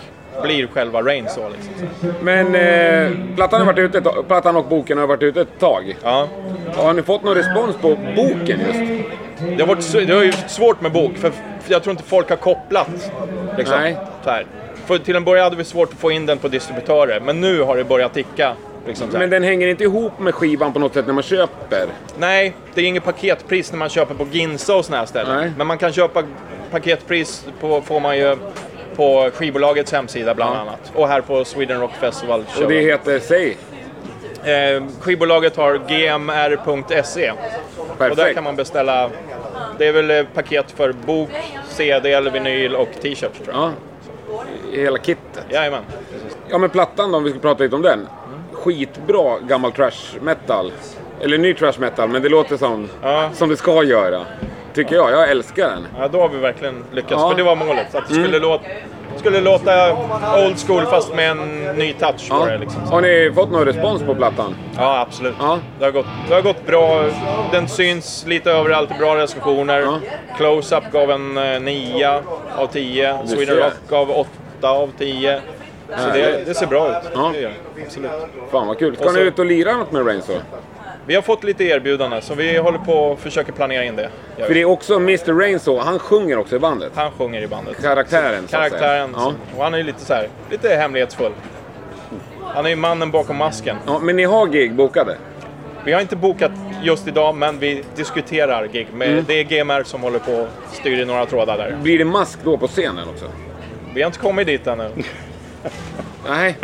S14: blir själva Rainsaw. Liksom.
S3: Men eh, plattan, har varit ute, ett tag- plattan och boken har varit ute ett tag.
S14: Ja.
S3: Har ni fått någon respons på boken just?
S14: Det har, varit, s- det har ju varit svårt med bok, för för jag tror inte folk har kopplat. Liksom,
S3: Nej.
S14: Så här. För till en början hade vi svårt att få in den på distributörer, men nu har det börjat ticka. Liksom, så här.
S3: Men den hänger inte ihop med skivan på något sätt när man köper?
S14: Nej, det är inget paketpris när man köper på Ginza och såna här ställen. Men man kan köpa paketpris, på, får man ju på skivbolagets hemsida bland annat. Och här på Sweden Rock Festival.
S3: Och det heter, säg?
S14: Eh, skivbolaget har gmr.se. Och där
S3: Perfekt.
S14: kan man beställa, det är väl eh, paket för bok, CD eller vinyl och t-shirts tror jag.
S3: Hela kittet?
S14: Jajamän.
S3: Ja men plattan då, om vi ska prata lite om den. Skitbra gammal trash metal. Eller ny trash metal, men det låter som, som det ska göra. Tycker jag, jag älskar den.
S14: Ja, då har vi verkligen lyckats,
S3: Ja.
S14: för det var målet. Att det
S3: Mm.
S14: skulle, låta, skulle låta old school fast med en Mm. ny touch på det. Liksom.
S3: Har ni fått någon respons på plattan?
S14: Ja, absolut. Det, har gått, det har gått bra. Den syns lite överallt i bra recensioner. Close-Up gav en eh, 9 av 10.
S3: Du
S14: Sweden
S3: ser.
S14: Rock gav 8 av 10. Så det,
S3: Härligt.
S14: det ser bra ut.
S3: Ja.
S14: Det gör det. Absolut.
S3: Fan vad kul. Ska
S14: Och så-
S3: ni ut och lira något med Rainsaw?
S14: Vi har fått lite erbjudanden, så vi håller på och försöker planera in det. Gör
S3: För det
S14: vi.
S3: är också Mr Rainsaw, han sjunger också i bandet.
S14: Han sjunger i bandet.
S3: Karaktären så att säga.
S14: Karaktären.
S3: Ja.
S14: Och han är ju lite så här, lite hemlighetsfull. Han är ju mannen bakom masken.
S3: Ja, men ni har gig bokade?
S14: Vi har inte bokat just idag, men vi diskuterar gig. Men
S3: Mm.
S14: Det är GMR som håller på och styr i några trådar där.
S3: Blir det mask då på scenen också?
S14: Vi har inte kommit dit ännu.
S3: *laughs* Nej.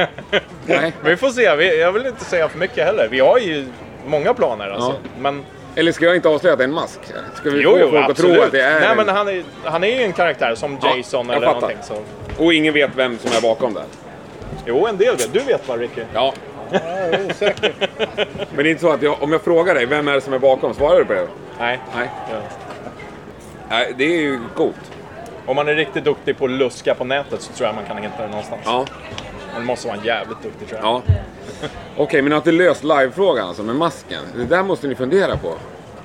S3: Nej.
S14: vi får se. Vi, jag vill inte säga för mycket heller. Vi har ju många planer alltså.
S3: Ja.
S14: Men...
S3: Eller ska jag inte avslöja att det är en mask? Ska vi få folk att tro att det är
S14: Nej,
S3: en-
S14: men han är, han är ju en karaktär som
S3: Ja,
S14: Jason
S3: jag
S14: eller
S3: fattar.
S14: någonting. Så.
S3: Och ingen vet vem som är bakom där.
S14: Jo, en del vet. Du vet vad, Ricky? *laughs*
S3: Ja. Men det är inte så att jag, om jag frågar dig vem är det som är bakom, svarar du på det?
S14: Nej.
S3: Nej.
S14: Nej,
S3: det är ju coolt.
S14: Om man är riktigt duktig på att luska på nätet så tror jag man kan hitta det någonstans.
S3: Ja.
S14: Man måste vara en jävligt duktig tror jag.
S3: Ja. Okej, men ni har inte löst livefrågan alltså med masken? Det där måste ni fundera på.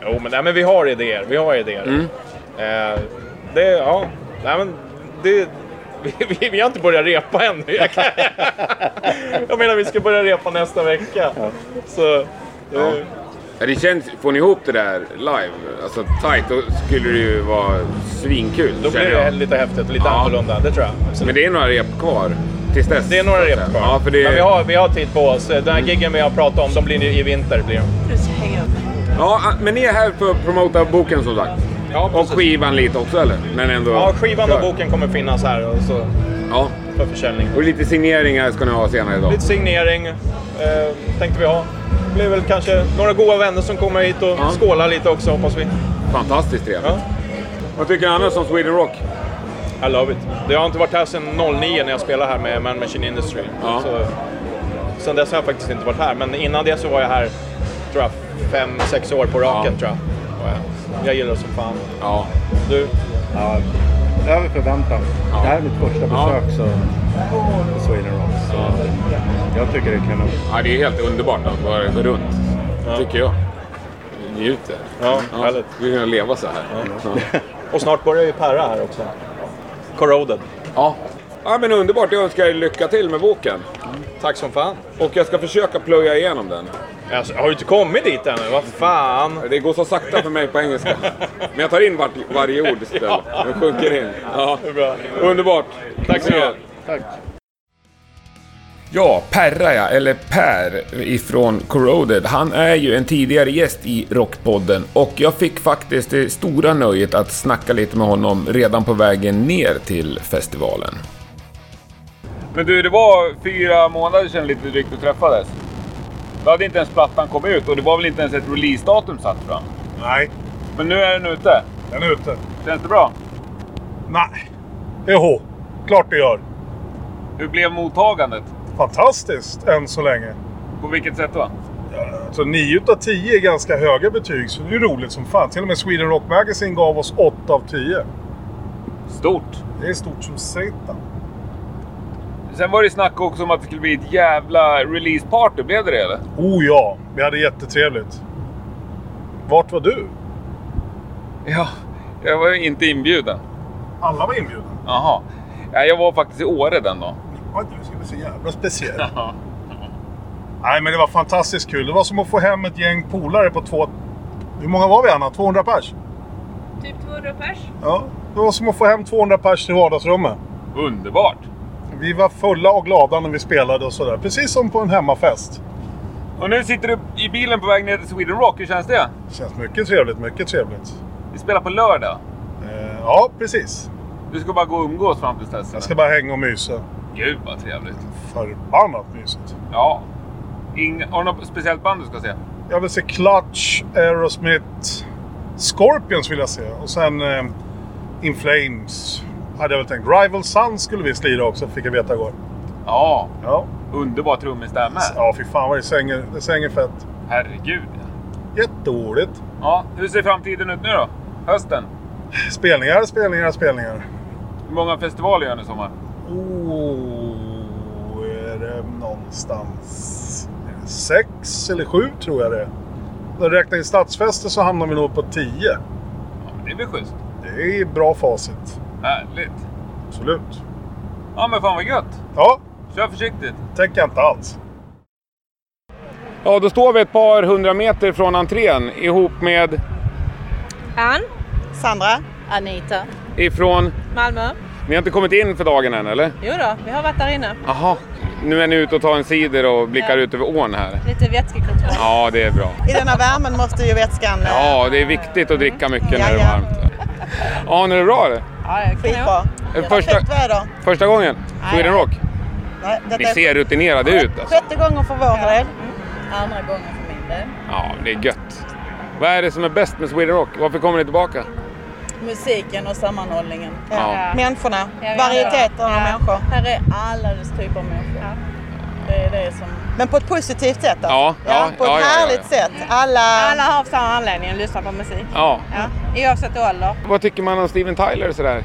S14: Jo, men, nej, men vi har idéer. Vi har idéer.
S3: Mm.
S14: Eh, det, ja. Nej, men det, *laughs* vi, vi, vi har inte börjat repa än. *laughs* Jag, kan, jag menar, *laughs* vi ska börja repa nästa vecka. Så, eh.
S3: Ja. Ja, det känns, får ni ihop det där live, alltså tight, då skulle det ju vara svinkul.
S14: Då blir
S3: känner
S14: det
S3: jag.
S14: lite häftigt och lite annorlunda, det tror jag.
S3: Men det är några rep kvar tills dess?
S14: Det är några rep kvar.
S3: Ja, för det... Mm.
S14: Men vi har, vi har tid på oss. Den här giggen vi har pratat om, de blir nu i vinter. Blir de.
S3: Ja, ah, men ni är här för att promota boken som sagt?
S14: Ja,
S3: och skivan lite också eller? Men ändå...
S14: Ja, skivan och
S3: Kör.
S14: boken kommer finnas här och så
S3: Ja.
S14: för försäljning.
S3: Och lite signeringar ska ni ha senare idag?
S14: Lite signering eh, tänkte vi ha. Det blir väl kanske några goda vänner som kommer hit och skålar lite också hoppas vi.
S3: Fantastiskt trevligt. Vad tycker du annars om Sweden Rock?
S14: I love it. Jag har inte varit här sedan 09 när jag spelade här med Man Machine Industry.
S3: Ja.
S14: Så, sen dess har jag faktiskt inte varit här, men innan det så var jag här, tror jag, fem, sex år på raken tror jag. Och jag. Jag gillar det som fan.
S3: Ja.
S14: Du?
S15: Ja, över förväntan. Det här är mitt första
S14: Ja.
S15: besök så, på Sweden Rock. Så jag tycker det är kanon.
S3: Ja, det är helt underbart att bara gå runt, tycker jag. Njuter.
S14: Ja, härligt.
S3: Vi kan leva så här. Ja.
S14: *laughs* Och snart börjar ju Perra här också. Corroded.
S3: Ja. ja, men underbart. Jag önskar er lycka till med boken.
S14: Tack som fan.
S3: Och jag ska försöka plöja igenom den.
S14: Alltså, har du inte kommit dit ännu? Vad fan?
S3: Det går så sakta för mig på
S14: *laughs*
S3: engelska. Men jag tar in vart, varje ord istället. Jag sjunker in. Ja. Underbart. Tack så mycket.
S15: Tack.
S3: Ja, Perra ja, eller Per ifrån Corroded. Han är ju en tidigare gäst i Rockpodden och jag fick faktiskt det stora nöjet att snacka lite med honom redan på vägen ner till festivalen.
S11: Men du, det var fyra månader sedan lite drygt att träffades. Då hade inte ens plattan kommit ut och det var väl inte ens ett releasedatum satt fram?
S15: Nej.
S11: Men nu är den ute?
S15: Den är ute.
S11: Känns det bra?
S15: Nej. Jo, klart det gör.
S11: Hur blev mottagandet?
S15: Fantastiskt än så länge.
S11: På vilket sätt då?
S15: Alltså 9 utav 10 är ganska höga betyg, så det är ju roligt som fan. Till och med Sweden Rock Magazine gav oss 8 av 10.
S11: Stort.
S15: Det är stort som satan.
S11: Sen var det snack också om att det skulle bli ett jävla releaseparty. Blev det det eller?
S15: Oh ja, vi hade jättetrevligt. Vart var du?
S11: Ja, jag var ju inte inbjuden.
S15: Alla var inbjudna.
S11: Jaha. Ja, jag var faktiskt i Åre den dagen.
S15: Ja, du ska bli så jävla speciell. Nej, men det var fantastiskt kul. Det var som att få hem ett gäng polare på två... Hur många var vi Anna? 200 pers?
S16: Typ 200 pers.
S15: Ja, det var som att få hem 200 pers till vardagsrummet.
S11: Underbart!
S15: Vi var fulla och glada när vi spelade och sådär. Precis som på en hemmafest.
S11: Och nu sitter du i bilen på väg ner till Sweden Rock. Hur känns det?
S15: Det känns mycket trevligt, mycket trevligt.
S11: Vi spelar på lördag.
S15: Eh, ja, precis.
S11: Du ska bara gå och umgås fram tills dess? eller?
S15: Jag ska bara hänga och mysa.
S11: Gud vad trevligt.
S15: Förbannat mysigt.
S11: Ja. Inga, har du något speciellt band du ska se?
S15: Jag vill se Clutch, Aerosmith, Scorpions vill jag se. Och sen eh, In Flames hade jag väl tänkt. Rival Sons skulle vi slira också, fick jag veta igår.
S11: Ja.
S15: ja.
S11: Underbar trummis där med.
S15: Ja, fy fan vad det sänger, det sänger fett.
S11: Herregud.
S15: Jätteroligt.
S11: Ja, hur ser framtiden ut nu då? Hösten?
S15: Spelningar, spelningar, spelningar.
S11: Hur många festivaler gör ni i sommar?
S15: Oh, är det någonstans sex eller sju tror jag det är. När du räknar in stadsfester så hamnar vi nog på tio.
S11: Ja, men det är väl schysst?
S15: Det är bra facit.
S11: Härligt.
S15: Absolut.
S11: Ja, men fan vad gött.
S15: Ja.
S11: Kör försiktigt.
S15: Tänker jag inte alls.
S3: Ja, då står vi ett par hundra meter från entrén ihop med
S17: Ann.
S18: Sandra.
S17: Anita.
S3: ifrån...
S17: Malmö.
S3: Ni har inte kommit in för dagen än eller?
S17: Jo då, vi har varit där inne.
S3: Jaha. Nu är ni ute och tar en cider och blickar
S17: Ja.
S3: ut över ån här.
S17: Lite vätskekontroll.
S3: Ja, det är bra.
S17: I denna värmen måste ju vätskan...
S18: eh,
S3: Ja, det är viktigt att dricka mycket när det är
S17: Ja, ja.
S3: varmt. Ja, nu är det bra eller?
S18: Skitbra.
S3: Eh, Första,
S17: perfekt väder.
S3: första gången? Sweden Rock?
S18: Nej,
S3: Ni ser rutinerade ut alltså.
S17: Sjätte gången för vår del. Mm. Andra gången för min del.
S3: Ja, det är gött. Vad är det som är bäst med Sweden Rock? Varför kommer ni tillbaka?
S17: Musiken och sammanhållningen.
S3: Ja.
S18: Människorna.
S17: Ja,
S18: Varieteten av
S17: ja.
S18: människor.
S17: Här är alla dess typer av människor. Det är det som...
S18: Men på ett positivt sätt då?
S3: Ja, ja,
S18: på ett
S3: ja, ja, ja.
S18: härligt sätt. Alla...
S17: Alla har av samma anledning att lyssna på musik.
S3: Ja.
S17: Ja. Oavsett ålder.
S3: Vad tycker man om Steven Tyler sådär?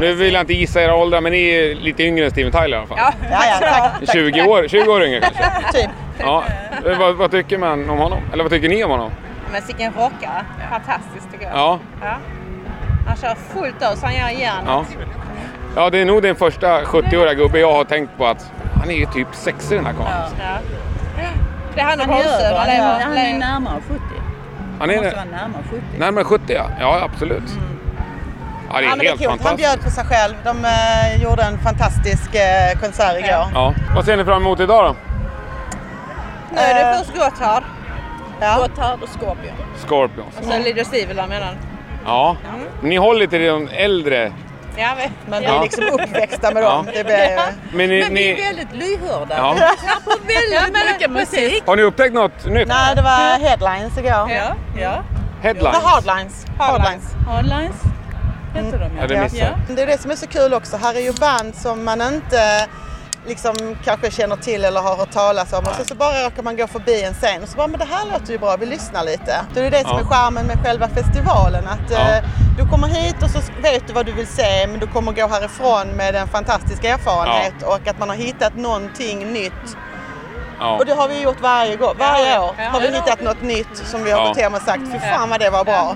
S3: Nu vill jag inte gissa era åldrar, men ni är lite yngre än Steven Tyler i alla fall.
S17: Ja,
S18: tack.
S17: *laughs*
S3: 20 år, 20 år yngre kanske.
S18: Typ.
S3: Ja. Eh, Vad, vad tycker man om honom? Eller vad tycker ni om honom?
S17: Men vilken rockare. Fantastiskt tycker jag.
S3: Ja.
S17: Ja. Han kör fullt ut så han gör järnet.
S3: Ja. ja, det är nog den första 70-åriga gubbe jag har tänkt på att han är ju typ 60 den här karln.
S17: Ja. Det är han och
S2: Han gör
S17: Bonsen.
S2: det.
S17: Han
S2: Han är- han är
S17: närmare 70.
S3: Han är
S2: måste
S3: det.
S2: vara närmare 70.
S3: närmare 70 ja. Ja, absolut. Ja, det är
S18: Mm. Ja, men det är
S3: helt
S18: coolt. Han
S3: fantastiskt.
S18: bjöd på sig själv. De eh, gjorde en fantastisk eh, konsert igår.
S3: Ja. Vad ser ni fram emot idag då?
S17: Nu är det
S18: Eh,
S17: först Gotthard. Gotthard och Scorpion.
S3: Scorpions.
S17: Och sen Leader Sivil medan.
S3: Ja.
S18: Mm.
S3: Ni håller till de äldre.
S17: Ja, men
S3: vi är Ja. liksom
S18: uppväxta med
S3: dem. Ja. Det blir- Men ni- ni-
S17: väldigt lyhörda.
S3: Ja.
S17: på väldigt mycket musik.
S3: Har ni upptäckt något nytt?
S18: Nej, det var headlines igår.
S17: Ja. ja.
S3: Headlines.
S18: The hardlines. Hardlines.
S17: Hardlines. Heter de
S3: Ja, det missade jag.
S18: Det är det som är så kul också. Här är ju band som man inte liksom kanske känner till eller har hört talas om. Och så, så bara råkar man gå förbi en scen och så bara, men det här låter ju bra, vi lyssnar lite. Det är det som
S2: Ja.
S18: är charmen med själva festivalen. Att
S2: Ja.
S18: eh, du kommer hit och så vet du vad du vill se, men du kommer gå härifrån med en fantastisk erfarenhet och att man har hittat någonting nytt.
S3: Ja.
S18: Och det har vi gjort varje, gång, varje år.
S17: Ja,
S18: Har vi
S17: ja.
S18: hittat något nytt som vi har
S17: Ja.
S18: gått hem och sagt, fy fan vad det var bra.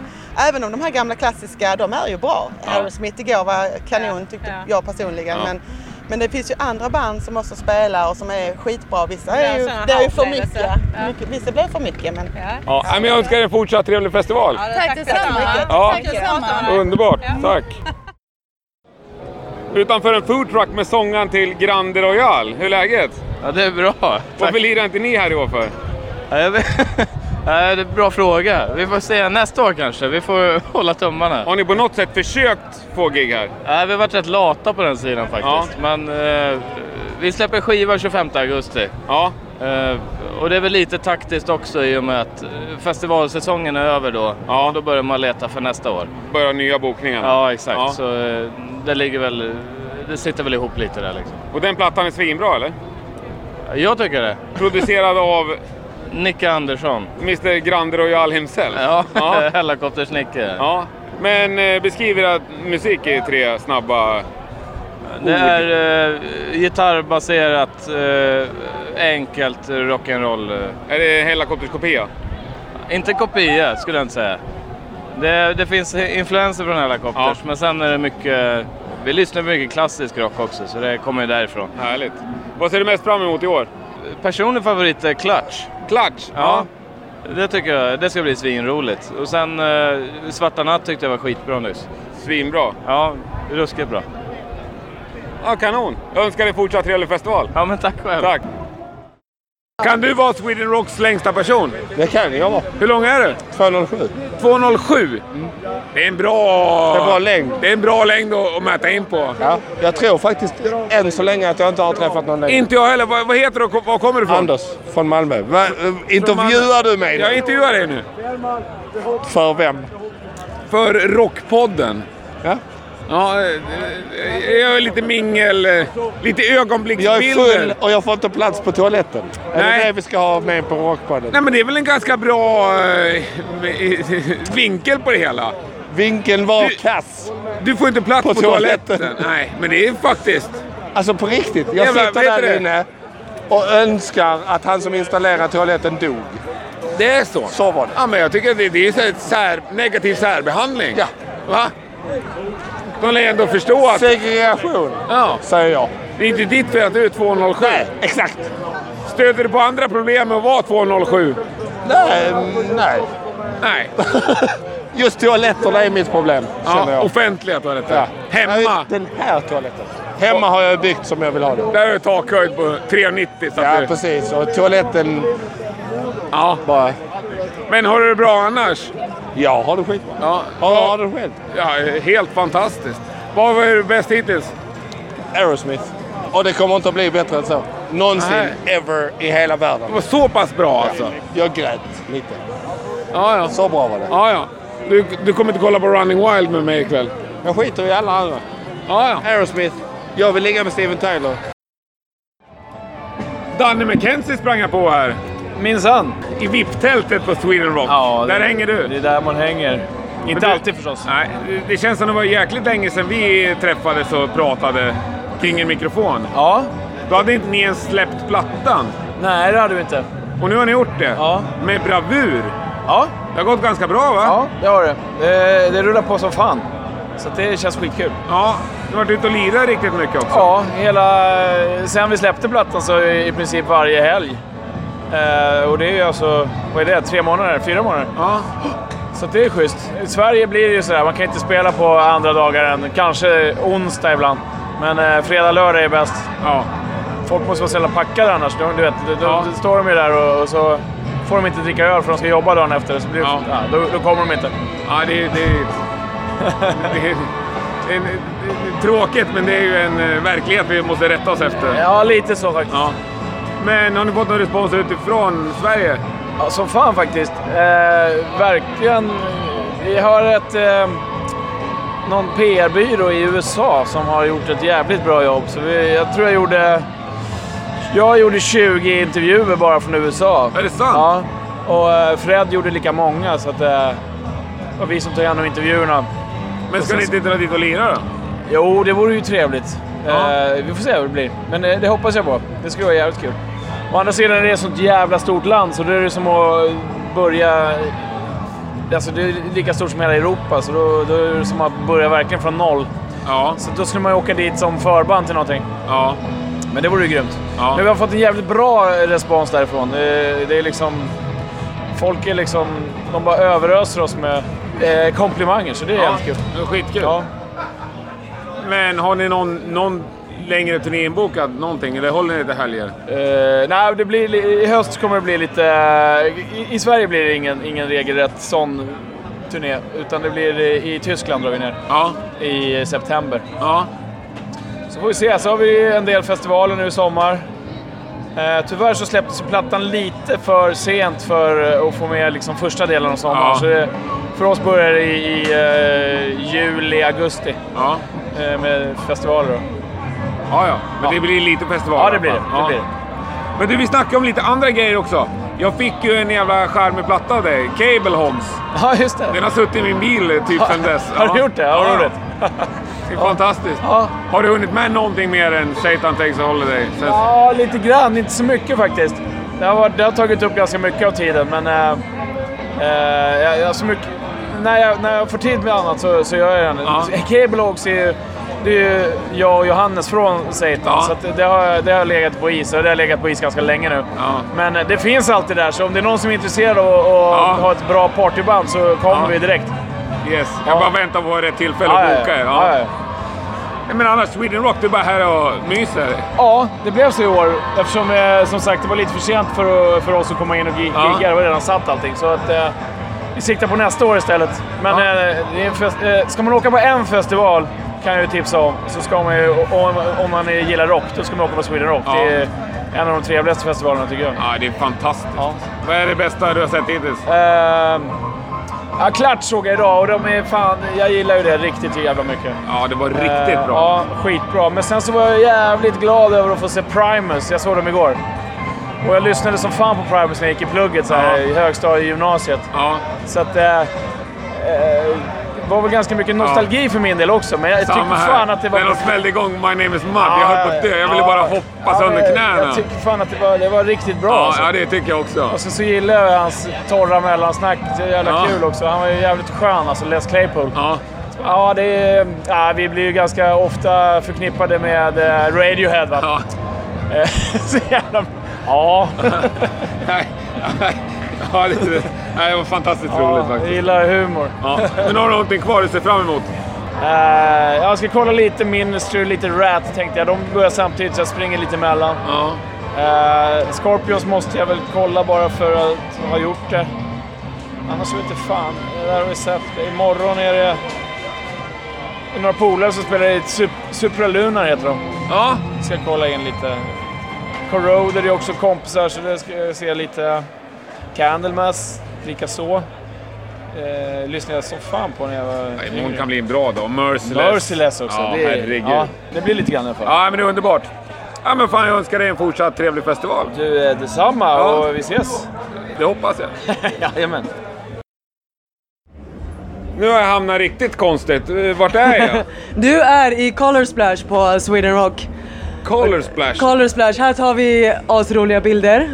S18: Även om de här gamla klassiska, de är ju bra. Aerosmith igår var kanon tyckte jag personligen.
S17: Ja.
S18: Men, men det finns ju andra band som också spelar och som är skitbra. Vissa
S17: Ja,
S18: är ju,
S17: sådana
S18: det är ju för
S17: upplevelse.
S18: mycket. mycket. Vissa blir för mycket. Men...
S3: Ja. nej, men jag önskar er en fortsatt trevlig festival.
S18: Tack detsamma.
S3: Ja.
S18: Tack detsamma.
S3: Underbart, tack. *laughs* utanför en foodtruck med sångaren till Grande Royal. Hur är läget?
S18: Ja, det är bra.
S3: Varför lirar inte ni här i år för?
S18: Ja, jag vet. *laughs* Nej, det är en bra fråga. Vi får se nästa år kanske. Vi får *laughs* hålla tummarna.
S3: Har ni på något sätt försökt få gig här?
S18: Nej, vi har varit rätt lata på den sidan faktiskt. Men eh, vi släpper skivan 25 augusti.
S3: Ja.
S18: Eh, och det är väl lite taktiskt också i och med att eh, festivalsäsongen är över då. Ja. Då börjar man leta för nästa år.
S3: Börjar nya bokningar?
S18: Ja, exakt.
S3: Ja.
S18: Så eh, det ligger väl... eh, Det sitter väl ihop lite där liksom.
S3: Och den plattan är svinbra eller?
S18: Jag tycker det.
S3: Producerad av?
S18: Nicke Andersson.
S3: Mr Grande Royal himself?
S18: Ja, *laughs* Helikoptersnicke.
S3: Ja. Men eh, beskriv era musik i tre snabba
S18: Det
S3: ord.
S18: är eh, gitarrbaserat, eh, enkelt eh, rock'n'roll.
S3: Är det Helikopters kopia?
S18: Inte kopia skulle jag inte säga. Det, det finns influenser från Helikopters, men sen är det mycket... Vi lyssnar på mycket klassisk rock också, så det kommer ju därifrån.
S3: Härligt. Vad ser du mest fram emot i år?
S18: Personlig favorit är Clutch.
S3: Clutch?
S18: Ja. Det tycker jag. Det ska bli svinroligt. Och sen eh, Svarta Natt tyckte jag var skitbra nyss.
S3: Svinbra?
S18: Ja, ruskigt bra.
S3: Ja, kanon. Jag önskar dig fortsatt trevlig festival.
S18: Ja, men tack själv.
S3: Tack. Kan du vara Sweden Rocks längsta person?
S19: Det kan jag vara.
S3: Hur lång är du?
S19: 207.
S3: 207? Det är en bra...
S19: Det är en bra längd.
S3: Det är en bra längd att att mäta in på.
S19: Ja, jag tror faktiskt än så länge att jag inte har träffat någon längre.
S3: Inte jag heller. Vad, vad heter du och var kommer du ifrån?
S19: Anders från Malmö. Va, eh, intervjuar du mig
S3: Jag intervjuar dig nu.
S19: För vem?
S3: För Rockpodden.
S19: Ja.
S3: Ja, eh, eh, jag är lite mingel, eh, lite ögonblicksbilder.
S19: Jag är full och jag får inte plats på toaletten. Är
S3: Nej.
S19: det det vi ska ha med på Rockpodden?
S3: Nej, men det är väl en ganska bra eh, vinkel på det hela.
S19: Vinkeln var kass.
S3: Du får inte plats på, toaletten. Nej, men det är faktiskt...
S19: Alltså på riktigt. Jag
S3: Jävlar,
S19: sitter
S3: vet du
S19: där
S3: det?
S19: inne och önskar att han som installerade toaletten dog.
S3: Det är så?
S19: Så var det.
S3: Ja, men jag tycker att det, det är så här sär, negativ särbehandling.
S19: Ja.
S3: *laughs* Va? De lär ändå förstå att...
S19: Segregation,
S3: ja.
S19: säger jag.
S3: Det är inte ditt fel att du är 207. Nej,
S19: exakt.
S3: Stöter du på andra problem med att vara 207?
S19: Nej, nej.
S3: Nej.
S19: *laughs* Just toaletterna är mitt problem, känner
S3: Ja,
S19: jag.
S3: offentliga toaletter.
S19: Ja.
S3: Hemma.
S19: Den här toaletten. Hemma har jag byggt som jag vill ha det.
S3: Där har du takhöjd på 390. Så att
S19: Ja,
S3: du...
S19: precis. Och toaletten...
S3: Ja.
S19: Bara...
S3: Men har du det bra annars?
S19: Ja, har du skit.
S3: Ja.
S19: Har, har du själv?
S3: Ja, helt fantastiskt. Vad var det bäst hittills?
S19: Aerosmith. Och det kommer inte att bli bättre än så. Någonsin,
S3: Nej.
S19: ever, i hela världen.
S3: Det var så pass bra alltså?
S19: Jag grät lite.
S3: Ja, ja.
S19: Så bra var det.
S3: Ja, ja. Du, du kommer inte kolla på Running Wild med mig ikväll?
S19: Jag skiter i alla andra.
S3: Ja, ja.
S19: Aerosmith. Jag vill ligga med Steven Tyler.
S3: Danne McKenzie sprang jag på här.
S11: Minsann.
S3: I VIP-tältet på Sweden Rock.
S11: Ja,
S3: där
S11: det-
S3: hänger du.
S11: Det är där man hänger.
S3: Men
S11: Inte
S3: du-
S11: alltid förstås.
S3: Nej, det- det känns som det var jäkligt länge sedan vi träffades och pratade kring en mikrofon.
S11: Ja.
S3: Då hade inte ni ens släppt plattan.
S11: Nej, det hade vi inte.
S3: Och nu har ni gjort det. Ja. Med bravur.
S11: Ja.
S3: Det har gått ganska bra va? Eh,
S11: Ja, det har det. eh, det. Det rullar på som fan. Så att det känns skitkul.
S3: Ja, du har varit ute och lirat riktigt mycket också.
S11: Ja, hela... Sen vi släppte plattan så i princip varje helg. Eh, och det är ju alltså, vad är det, tre månader? Fyra månader?
S3: Ja.
S11: Så att det är schysst. I Sverige blir det ju sådär, man kan inte spela på andra dagar än kanske onsdag ibland. Men eh, fredag, lördag är bäst.
S3: Ja.
S11: Folk måste vara så jävla packade annars. De, du vet, de, de, då står de ju där och, och så får de inte dricka öl för de ska jobba dagen efter. Så blir det, ja. då, då kommer de inte.
S3: Ja, det, det,
S11: *laughs*
S3: det, är- det, är- det är tråkigt, men det är ju en eh, verklighet vi måste rätta oss efter.
S11: Ja, lite så faktiskt.
S3: Men har ni fått någon respons utifrån Sverige?
S11: Ja, som fan faktiskt. Eh, verkligen. Vi har ett... Eh, någon PR-byrå i USA som har gjort ett jävligt bra jobb. Så vi, jag tror jag gjorde... Jag gjorde 20 intervjuer bara från USA.
S3: Är det sant?
S11: Ja. Och eh, Fred gjorde lika många, så att... Eh, det var vi som tog hand om intervjuerna.
S3: Men ska ni inte dra dit och lira då?
S11: Jo, det vore ju trevligt. Eh, vi får se hur det blir. Men eh, det hoppas jag på. Det skulle vara jävligt kul. Å andra sidan är det ett sånt jävla stort land, så då är det som att börja... Alltså det är lika stort som hela Europa, så då, då är det som att börja verkligen från noll.
S3: Ja.
S11: Så då skulle man ju åka dit som förband till någonting.
S3: Ja.
S11: Men det vore ju grymt.
S3: Ja.
S11: Men vi har fått en jävligt bra respons därifrån. Det, det är liksom... Folk är liksom... De bara överöser oss med eh, komplimanger, så det är
S3: Ja,
S11: jävligt kul.
S3: Det är skitkul.
S11: Ja.
S3: Men Men har ni någon, någon längre turné inbokad? Någonting? Eller håller ni det helger?
S11: Eh, nej, det blir, li- I höst kommer det bli lite... eh, I, I Sverige blir det ingen, ingen regelrätt sån turné. Utan det blir eh, i, i Tyskland drar vi ner. I september. Så får vi se. Så har vi en del festivaler nu i sommar. Eh, tyvärr så släpptes ju plattan lite för sent för eh, att få med liksom första delen av sommaren.
S4: Ja.
S11: Så det, för oss börjar det i, i eh, juli, augusti. Eh, med festivaler då.
S3: Ja, ja. Men det blir lite festival.
S11: Ja, det blir det.
S3: Ja.
S11: det, blir det.
S3: Men du, vi snackade om lite andra grejer också. Jag fick ju en jävla charmig platta av dig, Cable Hogs.
S11: Ja, just det.
S3: Den har suttit i min bil eh, typ sedan dess.
S11: *laughs* Har du gjort det? Ja, vad roligt.
S3: Det är fantastiskt. Har du hunnit med någonting mer än Satan takes a holiday? Sen...
S11: Ja, lite grann. Inte så mycket faktiskt. Det har, varit, det har tagit upp ganska mycket av tiden, men... eh, eh, jag, jag har så mycket, när, jag, när jag får tid med annat så, så gör jag det.
S4: Ja.
S11: Cable Hogs är ju... Det är ju jag och Johannes från Satan,
S4: Ja.
S11: så att det, har, det har legat på is och det har legat på is ganska länge nu. Men eh, det finns alltid där, så om det är någon som är intresserad av att att ha ett bra partyband så kommer
S3: Ja.
S11: vi direkt.
S3: Yes, jag bara väntar på rätt tillfälle
S11: Ja, ja,
S3: att boka er.
S11: ja, ja.
S3: Nej, Men annars, Sweden Rock, du är bara här och myser.
S11: Ja, det blev så i år. Eftersom eh, som sagt, det var lite för sent för, för oss att komma in och gi-
S3: Ja.
S11: gigga. Det var redan satt allting. Så att, eh, vi siktar på nästa år istället. Men eh, det är en fest, eh, ska man åka på en festival, kan jag ju tipsa om, så ska man ju, om, om man gillar rock, då ska man åka på Sweden Rock.
S3: Ja.
S11: Det är en av de trevligaste festivalerna tycker jag.
S3: Ja, det är fantastiskt. Vad är det bästa du har sett hittills?
S11: Ehm, ja, klart såg jag idag och de är fan, jag gillar ju det riktigt jävla mycket.
S3: Ja, det var riktigt
S11: Eh,
S3: bra.
S11: Ja, skitbra. Men sen så var jag jävligt glad över att få se Primus. Jag såg dem igår. Och jag lyssnade som fan på Primus när jag gick i plugget så här,
S4: Ja.
S11: i högstadiet i gymnasiet. Så att... eh, eh, det var väl ganska mycket nostalgi för min del också, men jag tyckte
S3: Samma här.
S11: fan att det var...
S3: När de smällde igång My name is Mud, jag höll på att dö. Jag ville bara hoppa sönder
S11: men
S3: knäna.
S11: Jag tycker fan att det var, det var riktigt bra.
S3: Ja,
S11: alltså.
S3: ja, det tycker jag också.
S11: Och sen så gillar jag hans torra mellansnack. Det är jävla
S3: Ja.
S11: kul också. Han var ju jävligt skön alltså, Les Claypool.
S3: Ja.
S11: Ja, det är, ja, vi blir ju ganska ofta förknippade med eh, Radiohead va? Ja. *laughs* så jävla...
S3: *laughs*
S11: Ja.
S3: Ja, det, nej, det var fantastiskt
S11: Ja,
S3: roligt faktiskt.
S11: jag gillar humor.
S3: Ja. Men har du någonting kvar du ser fram emot?
S11: Eh, jag ska kolla lite Ministry, lite Rat tänkte jag. De börjar samtidigt så jag springer lite emellan. Eh, Scorpions måste jag väl kolla bara för att ha gjort det. Annars vet jag fan. Det där har vi sett. Imorgon är det det är några polare som spelar i Sup- Supralunar heter de.
S3: Ja.
S11: Ska kolla in lite. Corroder är också kompisar så det ska jag se lite. Candlemass likaså. Eh, lyssnade jag som fan på när jag var
S3: Imorgon
S11: yngre.
S3: kan bli en bra dag. Merciless.
S11: Merciless också.
S3: Ja,
S11: det, är-
S3: herregud.
S11: Ja, det blir lite grann i alla fall.
S3: Ja, men det är underbart. Ja, men fan, jag önskar dig en fortsatt trevlig festival.
S11: Du, eh, detsamma och vi ses.
S3: Det hoppas jag.
S11: *laughs* Jajamän.
S3: Nu har jag hamnat riktigt konstigt. Eh, Vart är jag?
S20: *laughs* Du är i Color Splash på Sweden Rock.
S3: Color Splash.
S20: Color Splash, här tar vi asroliga bilder.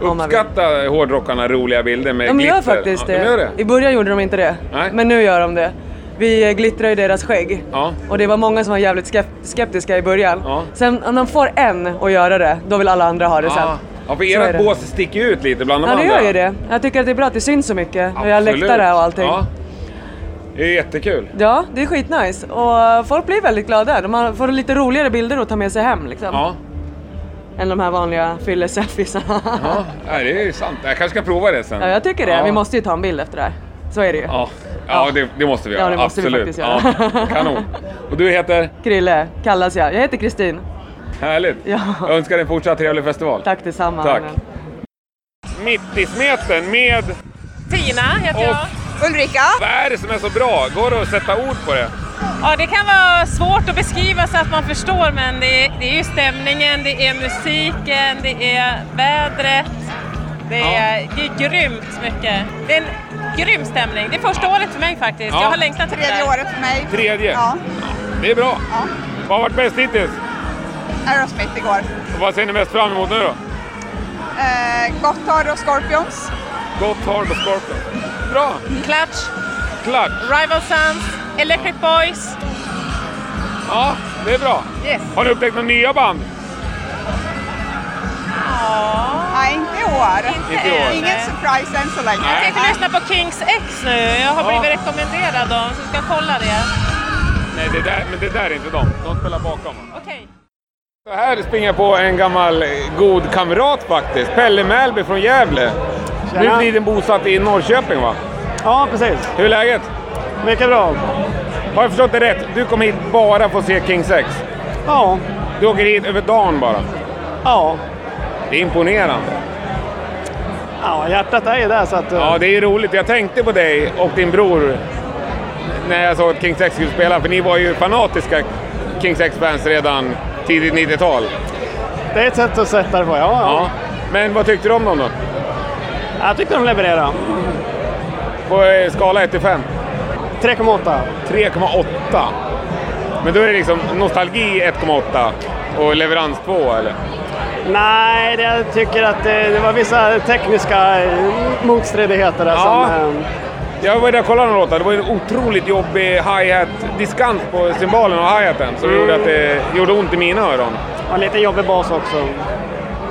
S3: Uppskatta hårdrockarna roliga bilder med
S20: De
S3: glitter.
S20: gör faktiskt
S3: Ja, de gör
S20: det.
S3: det.
S20: I början gjorde de inte det, men nu gör de det. Vi glittrar ju deras skägg.
S3: Ja.
S20: Och det var många som var jävligt skep- skeptiska i början. Sen om de får en att göra det, då vill alla andra ha det sen.
S3: Ja. Ja, för
S20: Så är
S3: ert
S20: det.
S3: bås sticker ju ut lite bland de
S20: Ja, det
S3: andra.
S20: gör ju det. Jag tycker att det är bra att det syns så mycket. Vi har
S3: Absolut.
S20: läktare och allting.
S3: Ja. Det är jättekul.
S20: Ja, det är skitnice. Och folk blir väldigt glada. De har- får lite roligare bilder att ta med sig hem. Liksom.
S3: Ja.
S20: Än de här vanliga fylleselfiesarna. Ja.
S3: Nej, det är ju sant. Jag kanske ska prova det sen.
S20: *laughs* ja, jag tycker det.
S3: Ja.
S20: Vi måste ju ta en bild efter det här. Så är det ju.
S3: Ja, ja det, det måste vi
S20: Ja,
S3: göra.
S20: det måste vi
S3: Absolut.
S20: faktiskt göra.
S3: Ja, *laughs* kanon. Och du heter?
S20: Krille kallas jag. Jag heter Kristin.
S3: Härligt. Jag önskar dig en fortsatt trevlig festival.
S20: Tack detsamma.
S3: Tack.
S20: Anna.
S3: Mitt i smeten med...
S21: Tina heter
S3: Och-
S21: jag. Ulrika.
S3: Vad är det som är så bra? Går det att sätta ord på det?
S21: Ja, det kan vara svårt att beskriva så att man förstår men det är, det är ju stämningen, det är musiken, det är vädret. Det är, det är grymt mycket. Det är en grym stämning. Det är första året för mig faktiskt.
S3: Ja.
S21: Jag har längtat efter det. Tredje året för mig.
S3: Tredje?
S21: Ja.
S3: Det är bra. Vad har varit bäst hittills?
S22: Aerosmith igår.
S3: Och vad ser ni mest fram emot nu då?
S22: Eh, Gotthard och Scorpions.
S3: Gott Hard och Scorpion. Bra!
S21: Clutch,
S3: Klart!
S21: Rival Sons, Electric Boys.
S3: Ja, det är bra.
S21: Yes.
S3: Har ni upptäckt några nya band?
S22: Nej, inte i år.
S3: Inte i år.
S22: Ingen surprise än så länge.
S21: Jag tänkte lyssna på Kings X nu. Jag har
S22: Ja.
S21: blivit rekommenderad av dem så vi ska kolla det.
S3: Nej, det där, men det där är inte dem. De spelar bakom.
S21: Okej.
S3: Så här springer jag på en gammal eh, god kamrat faktiskt. Pelle Mälby från Gävle. Nu
S23: Tjena.
S3: är tiden bosatt i Norrköping va?
S23: Ja, precis.
S3: Hur är läget?
S23: Mycket bra.
S3: Har jag förstått det rätt? Du kom hit bara för att se King 6?
S23: Ja.
S3: Du åker hit över dagen bara?
S23: Ja.
S3: Det är imponerande.
S23: Ja, hjärtat är ju där så att... eh,
S3: Ja, det är ju roligt. Jag tänkte på dig och din bror när jag såg att King 6 skulle spela, för ni var ju fanatiska King 6-fans redan tidigt 90-tal.
S23: det är ett sätt att sätta det på, ja. ja.
S3: Men vad tyckte du om dem då?
S23: Jag tyckte de levererade.
S3: På eh, skala 1-5?
S23: 3,8.
S3: 3,8? Men då är det liksom nostalgi 1,8 och leverans 2 eller?
S23: Nej, det, jag tycker att det, det var vissa tekniska eh, motstridigheter där
S3: Ja.
S23: som... eh,
S3: Jag var där och kollade några låtar. Det var ju en otroligt jobbig hi-hat, diskant på cymbalen och hi-haten som gjorde att det gjorde ont i mina öron.
S23: Och Mm. lite jobbig bas också.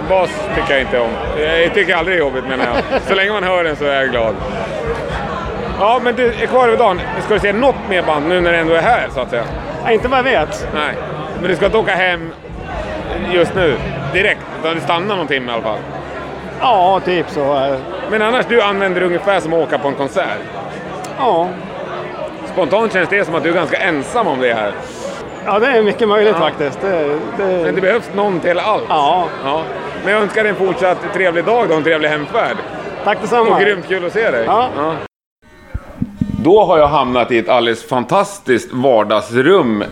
S3: Bas tycker jag inte om. Jag tycker aldrig det är jobbigt menar jag. Så länge man hör den så är jag glad. Ja, men du är kvar över dagen. Ska du se något mer band nu när du ändå är här så att säga?
S23: Nej, inte vad jag vet.
S3: Nej, men du ska inte åka hem just nu direkt utan du stannar någon timme i alla fall.
S23: Ja, typ så. eh,
S3: Men annars, du använder det ungefär som att åka på en konsert.
S23: Ja.
S3: Spontant känns det som att du är ganska ensam om det här.
S23: Ja, det är mycket möjligt
S3: Ja.
S23: faktiskt. Det, det...
S3: Men det behövs någon till allt. Ja. Men jag önskar dig en fortsatt trevlig dag då, och en trevlig hemfärd.
S23: Tack detsamma.
S3: Och grymt kul att se dig.
S23: Ja.
S3: Då har jag hamnat i ett alldeles fantastiskt vardagsrum eh,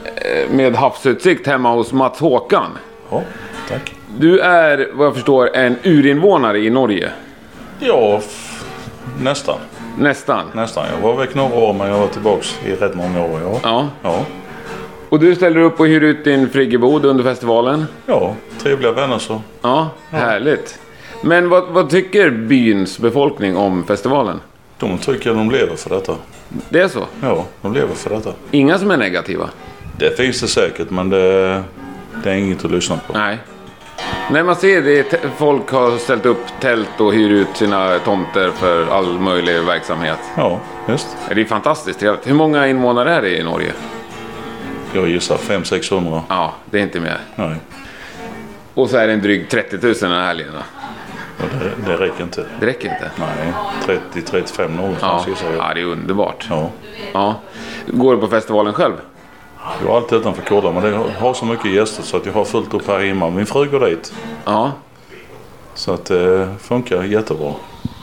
S3: med havsutsikt hemma hos Mats Håkan.
S24: Ja, tack.
S3: Du är vad jag förstår en urinvånare i Norge.
S24: Ja, f- nästan.
S3: Nästan?
S24: Nästan. Jag var väck några år men jag var tillbaks i rätt många år. Ja.
S3: Ja.
S24: ja.
S3: Och du ställer upp och hyr ut din friggebod under festivalen?
S24: Ja, trevliga vänner så.
S3: Ja, härligt. Men vad, vad tycker byns befolkning om festivalen?
S24: De tycker de lever för detta.
S3: Det är så?
S24: Ja, de lever för detta.
S3: Inga som är negativa?
S24: Det finns det säkert men det, det är inget att lyssna på.
S3: Nej. När man ser det, t- folk har ställt upp tält och hyr ut sina tomter för all möjlig verksamhet.
S24: Ja, just.
S3: Det är fantastiskt trevligt. Hur många invånare är det i Norge?
S24: Jag gissar 500-600.
S3: Ja, det är inte mer.
S24: Nej,
S3: Och så är det en dryg 30 000 den här helgen. då.
S24: och det, det räcker inte.
S3: Det räcker inte?
S24: Nej, 30-35 någonstans
S3: Ja.
S24: gissar jag.
S3: ja, det är underbart.
S24: Ja.
S3: ja. Går du på festivalen själv?
S24: Jag har alltid utanför Kodda men jag har så mycket gäster så att jag har fullt upp här hemma. Min fru går dit.
S3: Ja.
S24: Så att det funkar jättebra.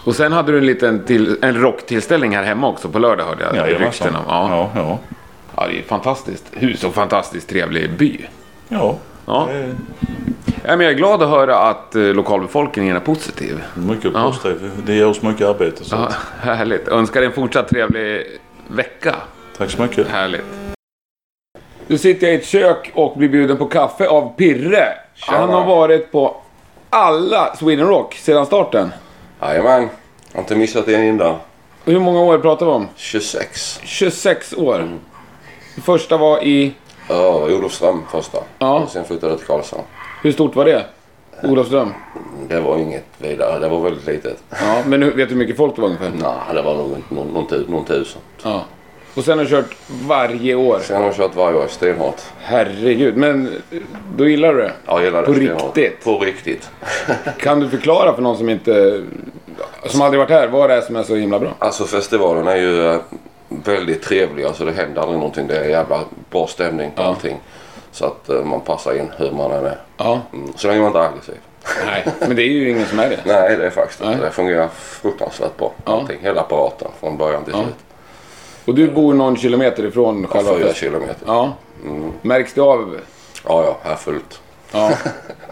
S3: Och sen hade du en liten till, en rocktillställning här hemma också på lördag hörde jag.
S24: Jajamensan.
S3: rykten om. Ja.
S24: Ja, ja.
S3: ja, det är fantastiskt hus och fantastiskt trevlig by.
S24: Ja.
S3: Ja. Ja, men jag är glad att höra att eh, lokalbefolkningen är positiv.
S24: Mycket positiv. Det ger oss mycket arbete. Så
S3: Ja,
S24: att,
S3: *laughs* härligt. Önskar dig en fortsatt trevlig vecka.
S24: Tack så mycket.
S3: Härligt. Nu sitter jag i ett kök och blir bjuden på kaffe av Pirre. Han har varit på alla Sweden Rock sedan starten.
S25: Jajamän. Jag har inte missat en enda.
S3: Hur många år pratar vi om?
S25: 26.
S3: 26 år. Första var i...
S25: Mm. Ja, det var Olofström första.
S3: Ja.
S25: Och sen flyttade jag till Karlshamn.
S3: Hur stort var det? Eh, Olofström?
S25: Det var inget vidare. Det var väldigt litet.
S3: Ja, men hur- vet du hur mycket folk det var ungefär?
S25: Nej, det var nog någon, någon, tu- någon tusen.
S3: Ja. Och sen har du kört varje år?
S25: Sen har jag kört varje år stenhårt.
S3: Herregud, men eh, då gillar du det?
S25: Ja, jag gillar det
S3: På
S25: stenhårt.
S3: riktigt?
S25: På riktigt. *laughs*
S3: Kan du förklara för någon som inte... Som aldrig varit här, vad det är som är så himla bra?
S25: Alltså festivalen är ju eh, väldigt trevlig. Alltså det händer aldrig någonting. Det är jävla bra stämning på allting. Så att eh, man passar in hur man än är.
S3: Ja.
S25: Mm. Så länge man inte är aggressiv.
S3: Nej, men det är ju ingen som är det.
S25: *laughs* Nej, det är faktiskt inte. Det fungerar fruktansvärt bra.
S3: Ja.
S25: Allting. Hela apparaten från början till
S3: Ja.
S25: slut.
S3: Och du bor någon kilometer ifrån
S25: Ja,
S3: själva
S25: fyra
S3: festen?
S25: kilometer. Mm.
S3: Ja. Märks det av?
S25: Ja, ja, här fullt.
S3: Ja.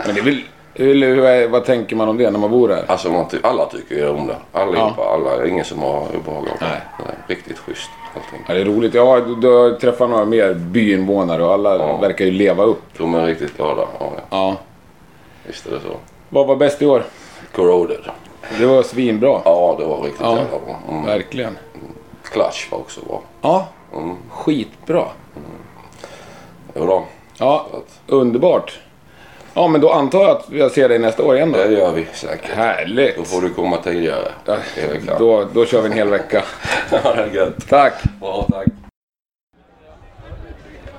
S3: Men det är väl... Hur, hur är- vad tänker man om det när man bor här?
S25: Alltså man ty- alla tycker ju om det. Allihopa. Alla, ingen som har obehag av det. Nej. Riktigt schysst allting.
S3: Ja, det är roligt. Jag har, då har jag träffat några mer byinvånare och alla verkar ju leva upp.
S25: De är riktigt glada. Ja, ja.
S3: Ja.
S25: Visst är det så.
S3: Vad var bäst i år?
S25: Corroded.
S3: Det var svinbra.
S25: Ja, det var riktigt
S3: Ja,
S25: jävla bra. Mm.
S3: Verkligen.
S25: Clash var också bra.
S3: Ja,
S25: Mm.
S3: skitbra.
S25: Jo då.
S3: Ja, underbart. Ja, men då antar jag att jag ser dig nästa år igen då.
S25: Det gör vi säkert.
S3: Härligt.
S25: Då får du komma tidigare. Ja.
S3: Då, då kör vi
S25: *laughs*
S3: en hel vecka.
S25: ja, det är gött.
S3: Tack.
S25: Bra, tack.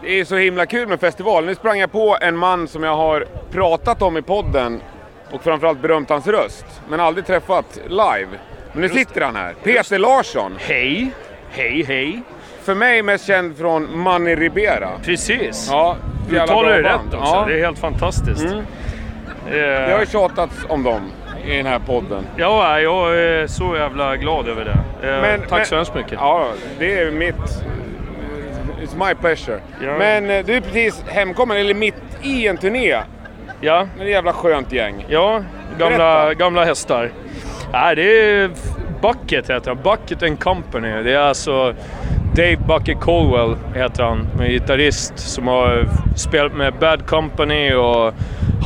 S3: Det är så himla kul med festival. Nu sprang jag på en man som jag har pratat om i podden och framförallt berömt hans röst, men aldrig träffat live. Men nu sitter han här. Peter Larsson. Hej! Hej, hej! För mig mest känd från Manny Ribera.
S1: Precis!
S3: Ja,
S1: Du
S3: jävla
S1: talar
S3: bra
S1: ju rätt
S3: band. Mm.
S1: också. Det är helt fantastiskt.
S3: Det har ju tjatats om dem i den här podden.
S1: Ja, jag är så jävla glad över det. Eh,
S3: Men-
S1: tack
S3: men-
S1: så hemskt mycket.
S3: Ja, det är mitt... It's my pleasure.
S1: Ja.
S3: Men eh, du är precis hemkommen, eller mitt i en turné.
S1: Ja.
S3: Med ett jävla skönt gäng.
S1: Ja, gamla, gamla hästar. Nej, det är Bucket heter han. Bucket and Company. Det är alltså Dave Bucket Colwell heter han. En gitarrist som har spelat med Bad Company och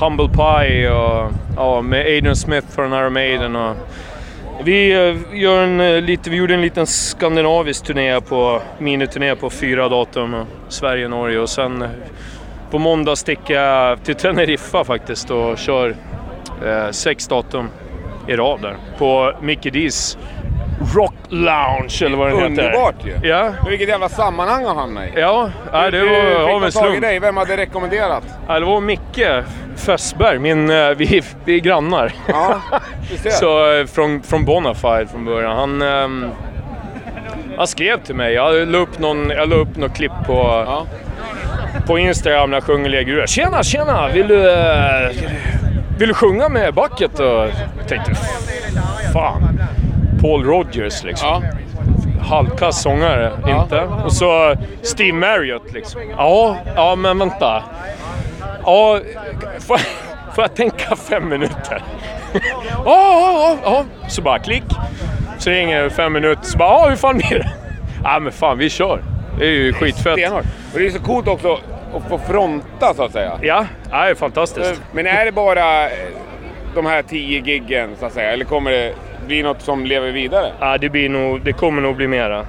S1: Humble Pie och ja, med Aiden Smith från Iron Maiden. Och vi, eh, gör en, eh, lite, vi gjorde en liten skandinavisk turné på, miniturné på fyra datum. och Sverige, Norge och sen eh, på måndag sticker jag till Teneriffa faktiskt och kör eh, sex datum i rad där. På Mickey D's Rock Lounge eller vad den
S3: Underbart
S1: heter.
S3: ju!
S1: Ja.
S3: Men Vilket jävla sammanhang han hamnade i.
S1: Ja, nej, det var av
S3: Hur
S1: en
S3: fick man tag i
S1: slump.
S3: dig? Vem hade rekommenderat?
S1: Ja, det var Micke Fössberg, min, eh, vi, vi är grannar. *laughs*
S3: Ja, du ser.
S1: Så eh, från, från Bonafide från början. Han, ehm, han skrev till mig. Jag la upp, någon, jag la upp något klipp på, på Instagram när jag sjunger Legurua. Tjena, tjena! Vill du, eh, vill du sjunga med Bucket? Och jag tänkte, fan. Paul Rogers liksom. Halvkass sångare, inte. Och så Steve Marriott liksom. Ja, ja men vänta. Ja, får, jag- får jag tänka fem minuter? Ja, ja, ja, ja. Så bara klick. Så ringer det fem minuter. Så bara, ja hur fan blir det? Ja men fan, vi kör. Det är ju skitfett.
S3: Stenhårt. Och det är så coolt också att få fronta så att säga.
S1: Ja, det är fantastiskt.
S3: Men är det bara eh, de här tio giggen så att säga, eller kommer det bli något som lever vidare?
S1: Ja, det, blir nog, det kommer nog bli mera.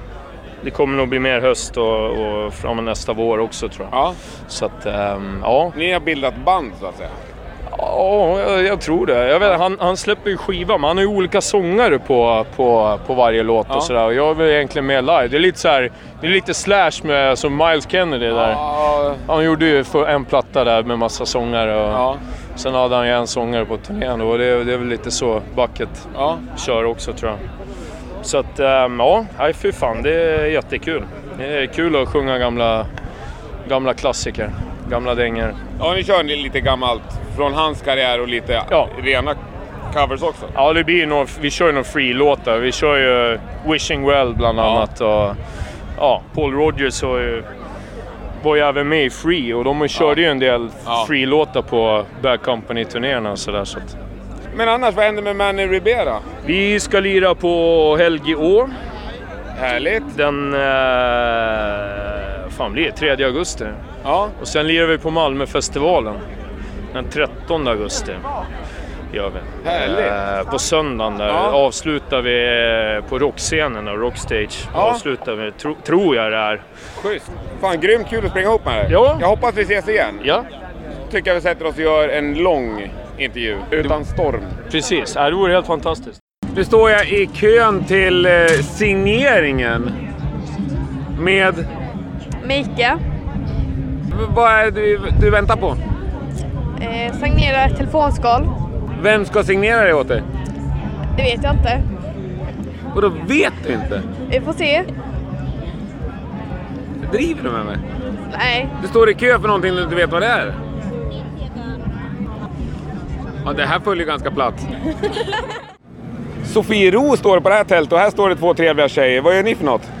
S1: Det kommer nog bli mer höst och, och fram nästa vår också tror jag.
S3: Ja.
S1: Så att, ehm, ja.
S3: Ni har bildat band så att säga?
S1: Ja, jag, jag tror det. Jag vet, han, han släpper ju skiva, men han har ju olika sångare på, på, på varje låt
S3: Ja.
S1: och sådär. Och jag är väl egentligen med live. Det är lite så här, det är lite slash med som Miles Kennedy där. Han gjorde ju för en platta där med massa sångare. Och Sen hade han ju en sångare på turnén då, och det, det är väl lite så Bucket kör också tror jag. Så att, ehm, ja, nej, fy fan, det är jättekul. Det är kul att sjunga gamla, gamla klassiker, gamla dängor.
S3: Ja, ni kör lite gammalt från hans karriär och lite rena covers också.
S1: Ja, det blir ju några, vi kör ju några free-låtar. Vi kör ju eh, Wishing Well bland annat. Och, ja, Paul Rogers har ju, var ju även med i Free och de körde ju en del
S3: Ja.
S1: free-låtar på Bad Company-turnéerna och sådär. Så att.
S3: Men annars, vad händer med Manny Ribera?
S1: Vi ska lira på Helge Å. Härligt! Den... Eh, fan blir det? 3 augusti.
S3: Ja.
S1: Och sen lirar vi på Malmöfestivalen. Den 13 augusti. Gör vi.
S3: Härligt.
S1: Eh, på söndagen där
S3: Ja.
S1: avslutar vi eh, på rockscenen, och Rockstage.
S3: Ja.
S1: Avslutar vi, tro, tror jag det är.
S3: Schysst! Fan, grymt kul att springa ihop med dig. Ja. Jag hoppas vi ses igen.
S1: Ja.
S3: Tycker jag vi sätter oss och gör en lång intervju, utan storm.
S1: Precis, Ja, det vore helt fantastiskt.
S3: Nu står jag i kön till eh, signeringen. Med...
S5: Mika,
S3: v- Vad är det du, du väntar på?
S5: eh, signera ett telefonskal.
S3: Vem ska signera det åt dig?
S5: Det vet jag inte.
S3: Och då vet du inte?
S5: Vi får se.
S3: Driver du med mig?
S5: Nej.
S3: Du står i kö för någonting du inte vet vad det är. Ja, det här följer ganska platt. Sofiero står på det här tältet och här står det två trevliga tjejer. Vad gör ni för något?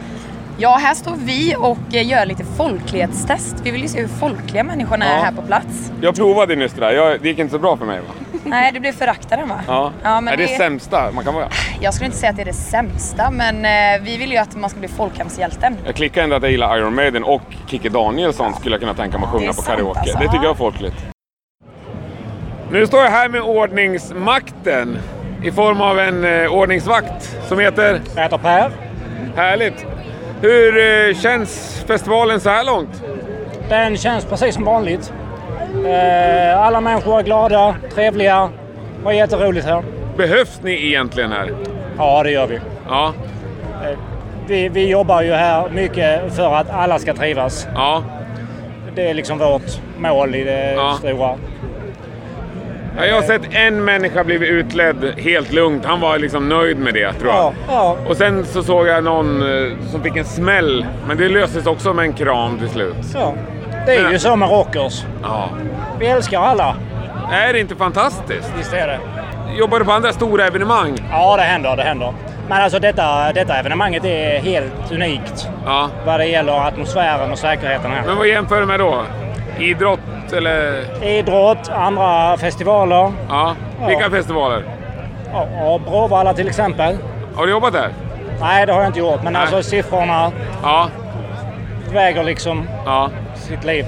S6: Ja, här står vi och eh, gör lite folklighetstest. Vi vill ju se hur folkliga människorna är
S3: Ja.
S6: här på plats.
S3: Jag provade nyss det där. Jag, det gick inte så bra för mig va?
S6: Nej, du blev föraktaren va?
S3: Ja.
S6: Ja, men
S3: är det,
S6: det-
S3: sämsta man kan vara?
S6: Jag skulle inte säga att det är det sämsta, men eh, vi vill ju att man ska bli folkhemshjälten.
S3: Jag klickar ändå att jag gillar Iron Maiden och Kikki Danielsson skulle jag kunna tänka mig att
S6: Det
S3: sjunga
S6: är
S3: på
S6: sant,
S3: karaoke.
S6: alltså.
S3: Det tycker jag är folkligt. Nu står jag här med ordningsmakten i form av en eh, ordningsvakt som heter? Jag heter Per. Härligt. Hur eh, känns festivalen så här långt?
S10: Den känns precis som vanligt. Eh, Alla människor är glada, trevliga och jätteroligt här.
S3: Behövs ni egentligen här?
S10: Ja, det gör vi.
S3: Ja.
S10: Vi, vi jobbar ju här mycket för att alla ska trivas.
S3: Ja.
S10: det är liksom vårt mål i det
S3: Ja.
S10: stora.
S3: Ja, jag har sett en människa bli utledd helt lugnt. Han var liksom nöjd med det tror jag.
S10: Ja.
S3: Och sen så såg jag någon eh, som fick en smäll, men det löstes också med en kram till slut.
S10: Så. Det är ju så med rockers.
S3: Ja.
S10: Vi älskar alla.
S3: Är det inte fantastiskt?
S10: Visst är det.
S3: Jobbar du på andra stora evenemang?
S10: Ja, det händer. Det händer. Men alltså detta, detta evenemanget är helt unikt.
S3: Ja.
S10: Vad det gäller atmosfären och säkerheten här.
S3: Men vad jämför du med då? Idrott eller?
S10: Idrott, andra festivaler.
S3: Ja. Vilka
S10: Ja.
S3: festivaler?
S10: Ja, ja, Bråvalla till exempel.
S3: Har du jobbat där?
S10: Nej, det har jag inte gjort. Men
S3: Nej.
S10: alltså siffrorna
S3: Ja.
S10: väger liksom
S3: Ja.
S10: sitt liv.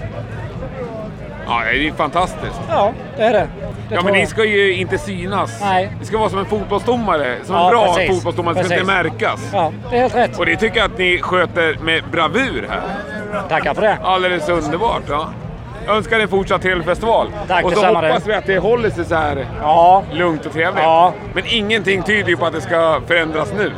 S3: Ja, det är ju fantastiskt.
S10: Ja, det är det. det
S3: ja,
S10: tror
S3: men ni
S10: jag.
S3: ska ju inte synas.
S10: Nej.
S3: Ni ska vara som en fotbollsdomare. Som
S10: Ja,
S3: en bra
S10: precis.
S3: fotbollsdomare. Det ska inte
S10: Precis.
S3: märkas.
S10: Ja, det är helt rätt.
S3: Och det tycker jag att ni sköter med bravur här.
S10: Tackar för det.
S3: Alldeles underbart. Ja. Jag önskar er en fortsatt trevlig festival.
S10: Tack,
S3: och så
S10: detsamma
S3: hoppas
S10: dig.
S3: vi att det håller sig så här
S10: ja.
S3: lugnt och trevligt.
S10: Ja.
S3: Men ingenting tyder ju på att det ska förändras nu.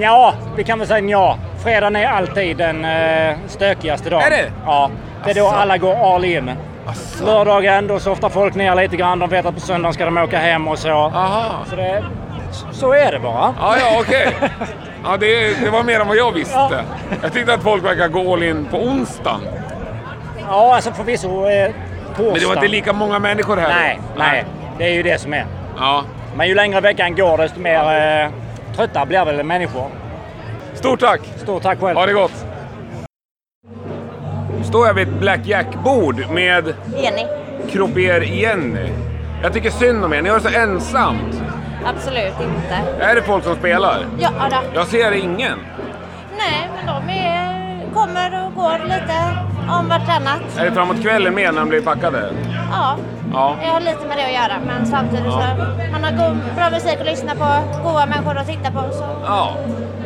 S10: Ja, vi kan väl säga ja. Fredagen är alltid den eh, stökigaste dagen.
S3: Är det?
S10: Ja. Det är då
S3: Asså.
S10: alla går all in. Lördagen, då softar folk ner lite grann. De vet att på söndagen ska de åka hem och så.
S3: Aha.
S10: Så, det, så är det bara.
S3: Ja, ja, okej. Ja, det, det var mer än vad jag visste. Jag tyckte att folk verkar gå all in på onsdagen.
S10: Ja, alltså förvisso eh, torsdag.
S3: Men det var inte lika många människor här?
S10: Nej,
S3: då?
S10: nej. Det är ju det som är.
S3: Ja.
S10: Men ju längre veckan går desto mer eh, trötta blir väl människor.
S3: Stort tack!
S10: Stort tack själv.
S3: Ha det gott! Står jag vid ett Black Jack-bord med
S7: Jenny.
S3: Kroper Jenny. Jag tycker synd om er, ni har det så ensamt.
S7: Absolut inte.
S3: Är det folk som spelar?
S7: Ja, då.
S3: Jag ser ingen.
S7: Nej, men de är, kommer och går lite om vartannat.
S3: Är det framåt kvällen med när de blir packade?
S7: Ja,
S3: Ja.
S7: jag har lite med det att göra, men samtidigt
S3: Ja.
S7: så man har god, bra musik att lyssna på, goa människor att titta på. Så.
S3: Ja.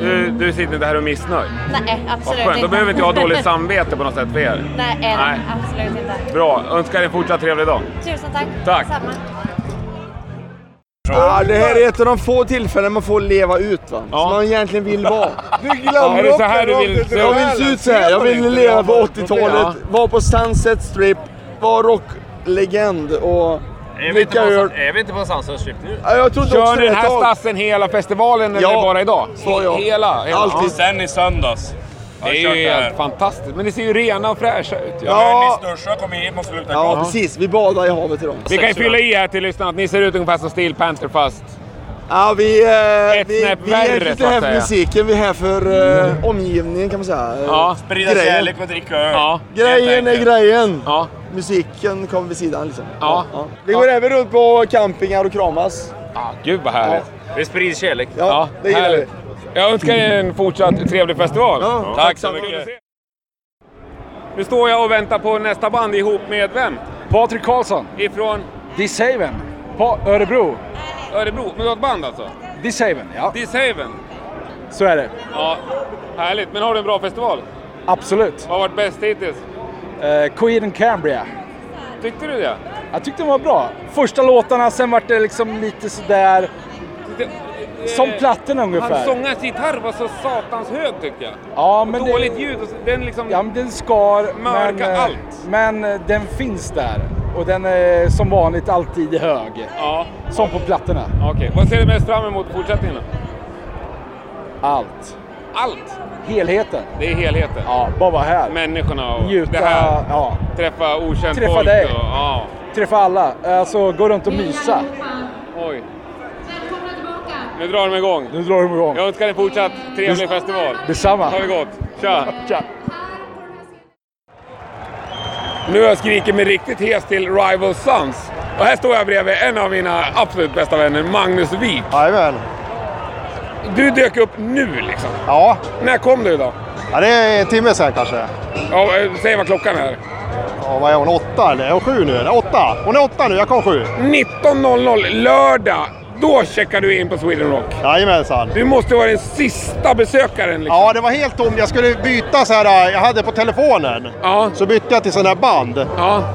S3: Du, du sitter inte här och är missnöjd?
S7: Nej,
S3: Vad
S7: absolut
S3: skönt,
S7: inte.
S3: då behöver inte jag ha *laughs* dåligt samvete på något sätt för er.
S7: *laughs* Nej, nej,
S3: Nej.
S7: absolut inte.
S3: Bra, önskar er en fortsatt trevlig dag.
S7: Tusen tack.
S3: Tack.
S7: Samma.
S26: Ja, det här är ett av de få tillfällen man får leva ut va? Som man egentligen vill vara.
S3: *laughs* Du glömmer Ja, det är så här också du vill rakt
S26: Jag vill
S3: ut i se själen.
S26: se ut så här. Jag vill leva på 80-talet,
S3: Ja.
S26: vara på Sunset Strip, vara rocklegend och dricka öl.
S3: Är vi inte på Sunset Strip nu?
S26: Ja, jag trodde
S3: Kör
S26: också
S3: ni
S26: det
S3: den här
S26: ett tag.
S3: stassen hela festivalen eller
S26: Ja,
S3: bara idag?
S26: sa jag.
S3: Hela? hela.
S26: Alltid.
S3: Sen i söndags. Det
S26: Jag
S3: är
S26: har
S3: ju
S26: kört det
S3: helt
S26: här.
S3: fantastiskt. Men det ser ju rena och fräscha ut. ju.
S26: Ja.
S3: Största kom in och slutade
S26: Ja, precis. Vi badar i havet idag.
S3: Vi kan ju fylla i här till lyssnarna att ni ser ut ungefär som Steel Panther fast...
S26: Eh, Ja, vi, eh,
S3: Ett
S26: vi,
S3: snäpp
S26: vi är
S3: värre,
S26: inte
S3: så att
S26: här för
S3: säga. Mm.
S26: musiken, vi är här för eh, omgivningen kan man säga. Eh, grejen.
S3: och dricka öl. Ja.
S26: Grejen är grejen.
S3: Ja.
S26: Musiken kommer vid sidan liksom.
S3: Ja.
S26: Vi går även runt på campingar och kramas.
S3: Ah, Gud vad härligt.
S4: Det sprids kärlek.
S26: Ja, det gillar
S3: härligt. Jag önskar er en fortsatt trevlig festival.
S26: Ja,
S3: tack
S26: tack
S3: så
S26: så
S3: mycket. Nu står jag och väntar på nästa band ihop med vem?
S9: Patrik Karlsson.
S3: Ifrån
S9: Dishaven. På Örebro.
S3: Örebro. Men du har ett band alltså?
S9: Dishaven, ja.
S3: Dishaven.
S9: Så är det.
S3: Ja, härligt. Men har du en bra festival?
S9: Absolut.
S3: Vad har varit bäst hittills?
S9: Eh, Queen and Cambria.
S3: Tyckte du det?
S9: Jag tyckte de var bra. Första låtarna, sen vart det liksom lite sådär... Som plattorna
S3: Han
S9: ungefär.
S3: sångarens gitarr var så satans hög tyckte jag.
S9: Ja, men det-
S3: Dåligt ljud och så- den liksom...
S9: Ja, men den skar.
S3: Mörka
S9: men, eh,
S3: allt.
S9: Men eh, den finns där. Och den är som vanligt alltid hög.
S3: Ja.
S9: Som på plattorna.
S3: Okej, vad ser du mest fram emot i fortsättningen då?
S9: Allt.
S3: Allt!
S9: Helheten.
S3: Det är helheten.
S9: Ja, bara vara här.
S3: Människorna och
S9: Njuta,
S3: det här.
S9: ja.
S3: Träffa okänt
S9: Träffa
S3: folk.
S9: dig.
S3: Och, ja.
S9: Träffa alla. Alltså, gå runt och mysa.
S3: Oj. Nu drar de igång.
S9: Nu drar de igång.
S3: Jag önskar en fortsatt trevlig
S9: Dets-
S3: festival.
S9: detsamma.
S3: Ha det gott. Tja.
S9: Tja.
S3: Nu har jag skrikit mig riktigt hes till Rival Sons. Och här står jag bredvid en av mina absolut bästa vänner, Magnus Wik.
S26: Jajamän.
S3: Du dök upp nu liksom.
S26: Ja.
S3: När kom du idag?
S26: Ja, det är en timme sen kanske.
S3: Ja, eh, säg vad klockan är.
S26: Ja, vad är hon? Åtta eller? Är hon sju nu? Eller åtta? Hon är åtta nu, jag kom sju.
S3: 19.00 lördag. Då checkar du in på Sweden Rock.
S26: Jajamensan.
S3: Du måste vara den sista besökaren. Liksom.
S26: Ja, det var helt tomt. Jag skulle byta så här, eh, jag hade på telefonen. Så bytte jag till sån här band.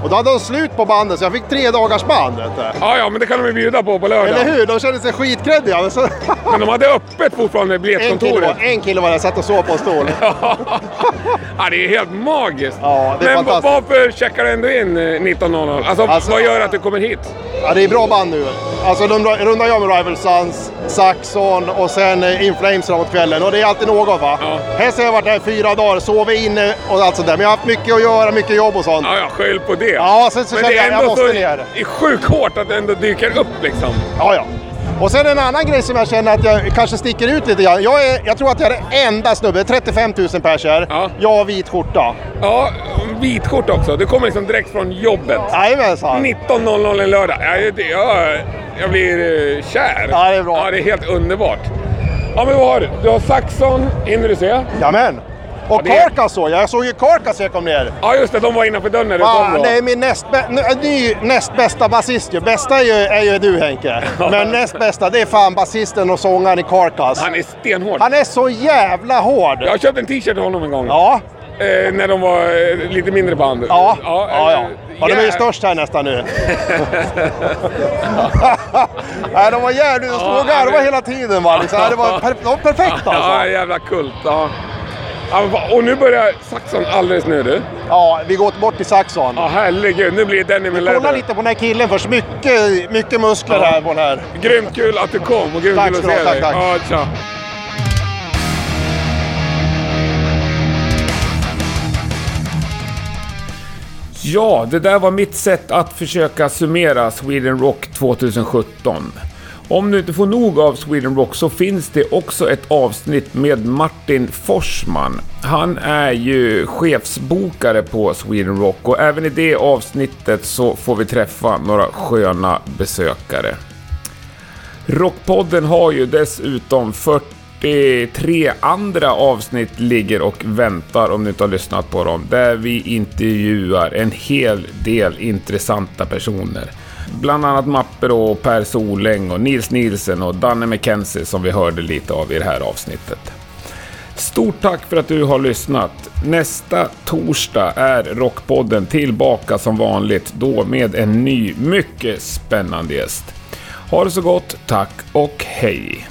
S26: Och då hade de slut på bandet så jag fick tre dagars band. Vet du.
S3: Ja, ja, men det kan de ju bjuda på på lördag.
S26: Eller hur? De kände sig skitkreddiga. men Så...
S3: Men de hade öppet
S26: *laughs*
S3: fortfarande,
S26: En kille,
S3: biljettkontoret.
S26: var, en kille var där, satt och sov på en stol.
S3: Ja, det är helt magiskt.
S26: det är
S3: Men va-
S26: fantastiskt.
S3: varför checkar du ändå in eh, 19.00? Alltså,
S26: Alltså-
S3: vad gör att du kommer hit?
S26: Ja, det är bra band nu. Alltså, de dra- rundar jag med Rival Sons, Saxon och sen eh, In Flames framåt kvällen. Och det är alltid något va. Här har jag varit här i fyra dagar, sovit inne och allt sånt där. Men jag har haft mycket att göra, mycket jobb och sånt.
S3: Ja, ja, skäll på det.
S26: Ja, sen så
S3: Men
S26: känner
S3: det är
S26: jag jag
S3: ändå
S26: måste
S3: så-
S26: ner.
S3: Det är sjukt hårt att det ändå dyker upp liksom.
S26: Ja, ja. Och sen en annan grej som jag känner att jag kanske sticker ut lite grann. Jag, är, jag tror att jag är den enda snubben, 35 000 pers här. Jag har vit skjorta.
S3: Ja, vit skjorta också. Du kommer liksom direkt från jobbet.
S26: Jajamensan.
S3: 19.00 en lördag. Ja, det, jag, jag blir eh, kär. Ja, det är bra. Ja, det är helt underbart. Ja, men vad har du? Du har Saxon, hinner du se?
S26: Jajamän. Och Karkas såg jag. Jag såg ju Karkas när jag kom ner.
S3: Ja, just det. De var innanför dörren när du
S26: Fan,
S3: kom då.
S26: det är min näst, bä- äh, n- ny, näst bästa basist ju. Bästa är ju, är ju du Henke. Men näst bästa, det är fan basisten och sångaren i Carcass.
S3: Alltså, Han är stenhård.
S26: Han är så jävla hård!
S3: Jag köpte en t-shirt av honom en gång.
S26: Ja.
S3: Eh, när de var eh, lite mindre band.
S26: Ja, ja, ja.
S3: eh,
S26: ja de är ju
S3: jä-
S26: störst här nästan
S3: *laughs*
S26: nu. *laughs* Nej, de var jävligt... De stod och garvade hela tiden. Va? Liksom. Nej, Det
S3: *laughs*
S26: var per, de var perfekta
S3: Ja,
S26: alltså.
S3: jävla kult. Ja. Ja, men fan, Och nu börjar Saxon alldeles nu du.
S26: Ja, vi går bort till Saxon.
S3: Ja, herregud. Nu blir det Denim med
S26: Kolla
S3: läder.
S26: lite på den här killen först. Mycket, mycket muskler
S3: Ja.
S26: här på den här.
S3: Grymt kul att du kom och grymt
S26: Tack
S3: kul att
S26: ska du
S3: se
S26: ha, tack,
S3: dig.
S26: tack.
S3: Ja, tja. Ja, det där var mitt sätt att försöka summera Sweden Rock 2017. Om du inte får nog av Sweden Rock så finns det också ett avsnitt med Martin Forsman. Han är ju chefsbokare på Sweden Rock och även i det avsnittet så får vi träffa några sköna besökare. Rockpodden har ju dessutom 43 andra avsnitt ligger och väntar om du inte har lyssnat på dem. Där vi intervjuar en hel del intressanta personer. Bland annat Mappe då, och Per Soläng och Nils Nielsen och Danne McKenzie som vi hörde lite av i det här avsnittet. Stort tack för att du har lyssnat. Nästa torsdag är Rockpodden tillbaka som vanligt, då med en ny mycket spännande gäst. Ha det så gott, tack och hej!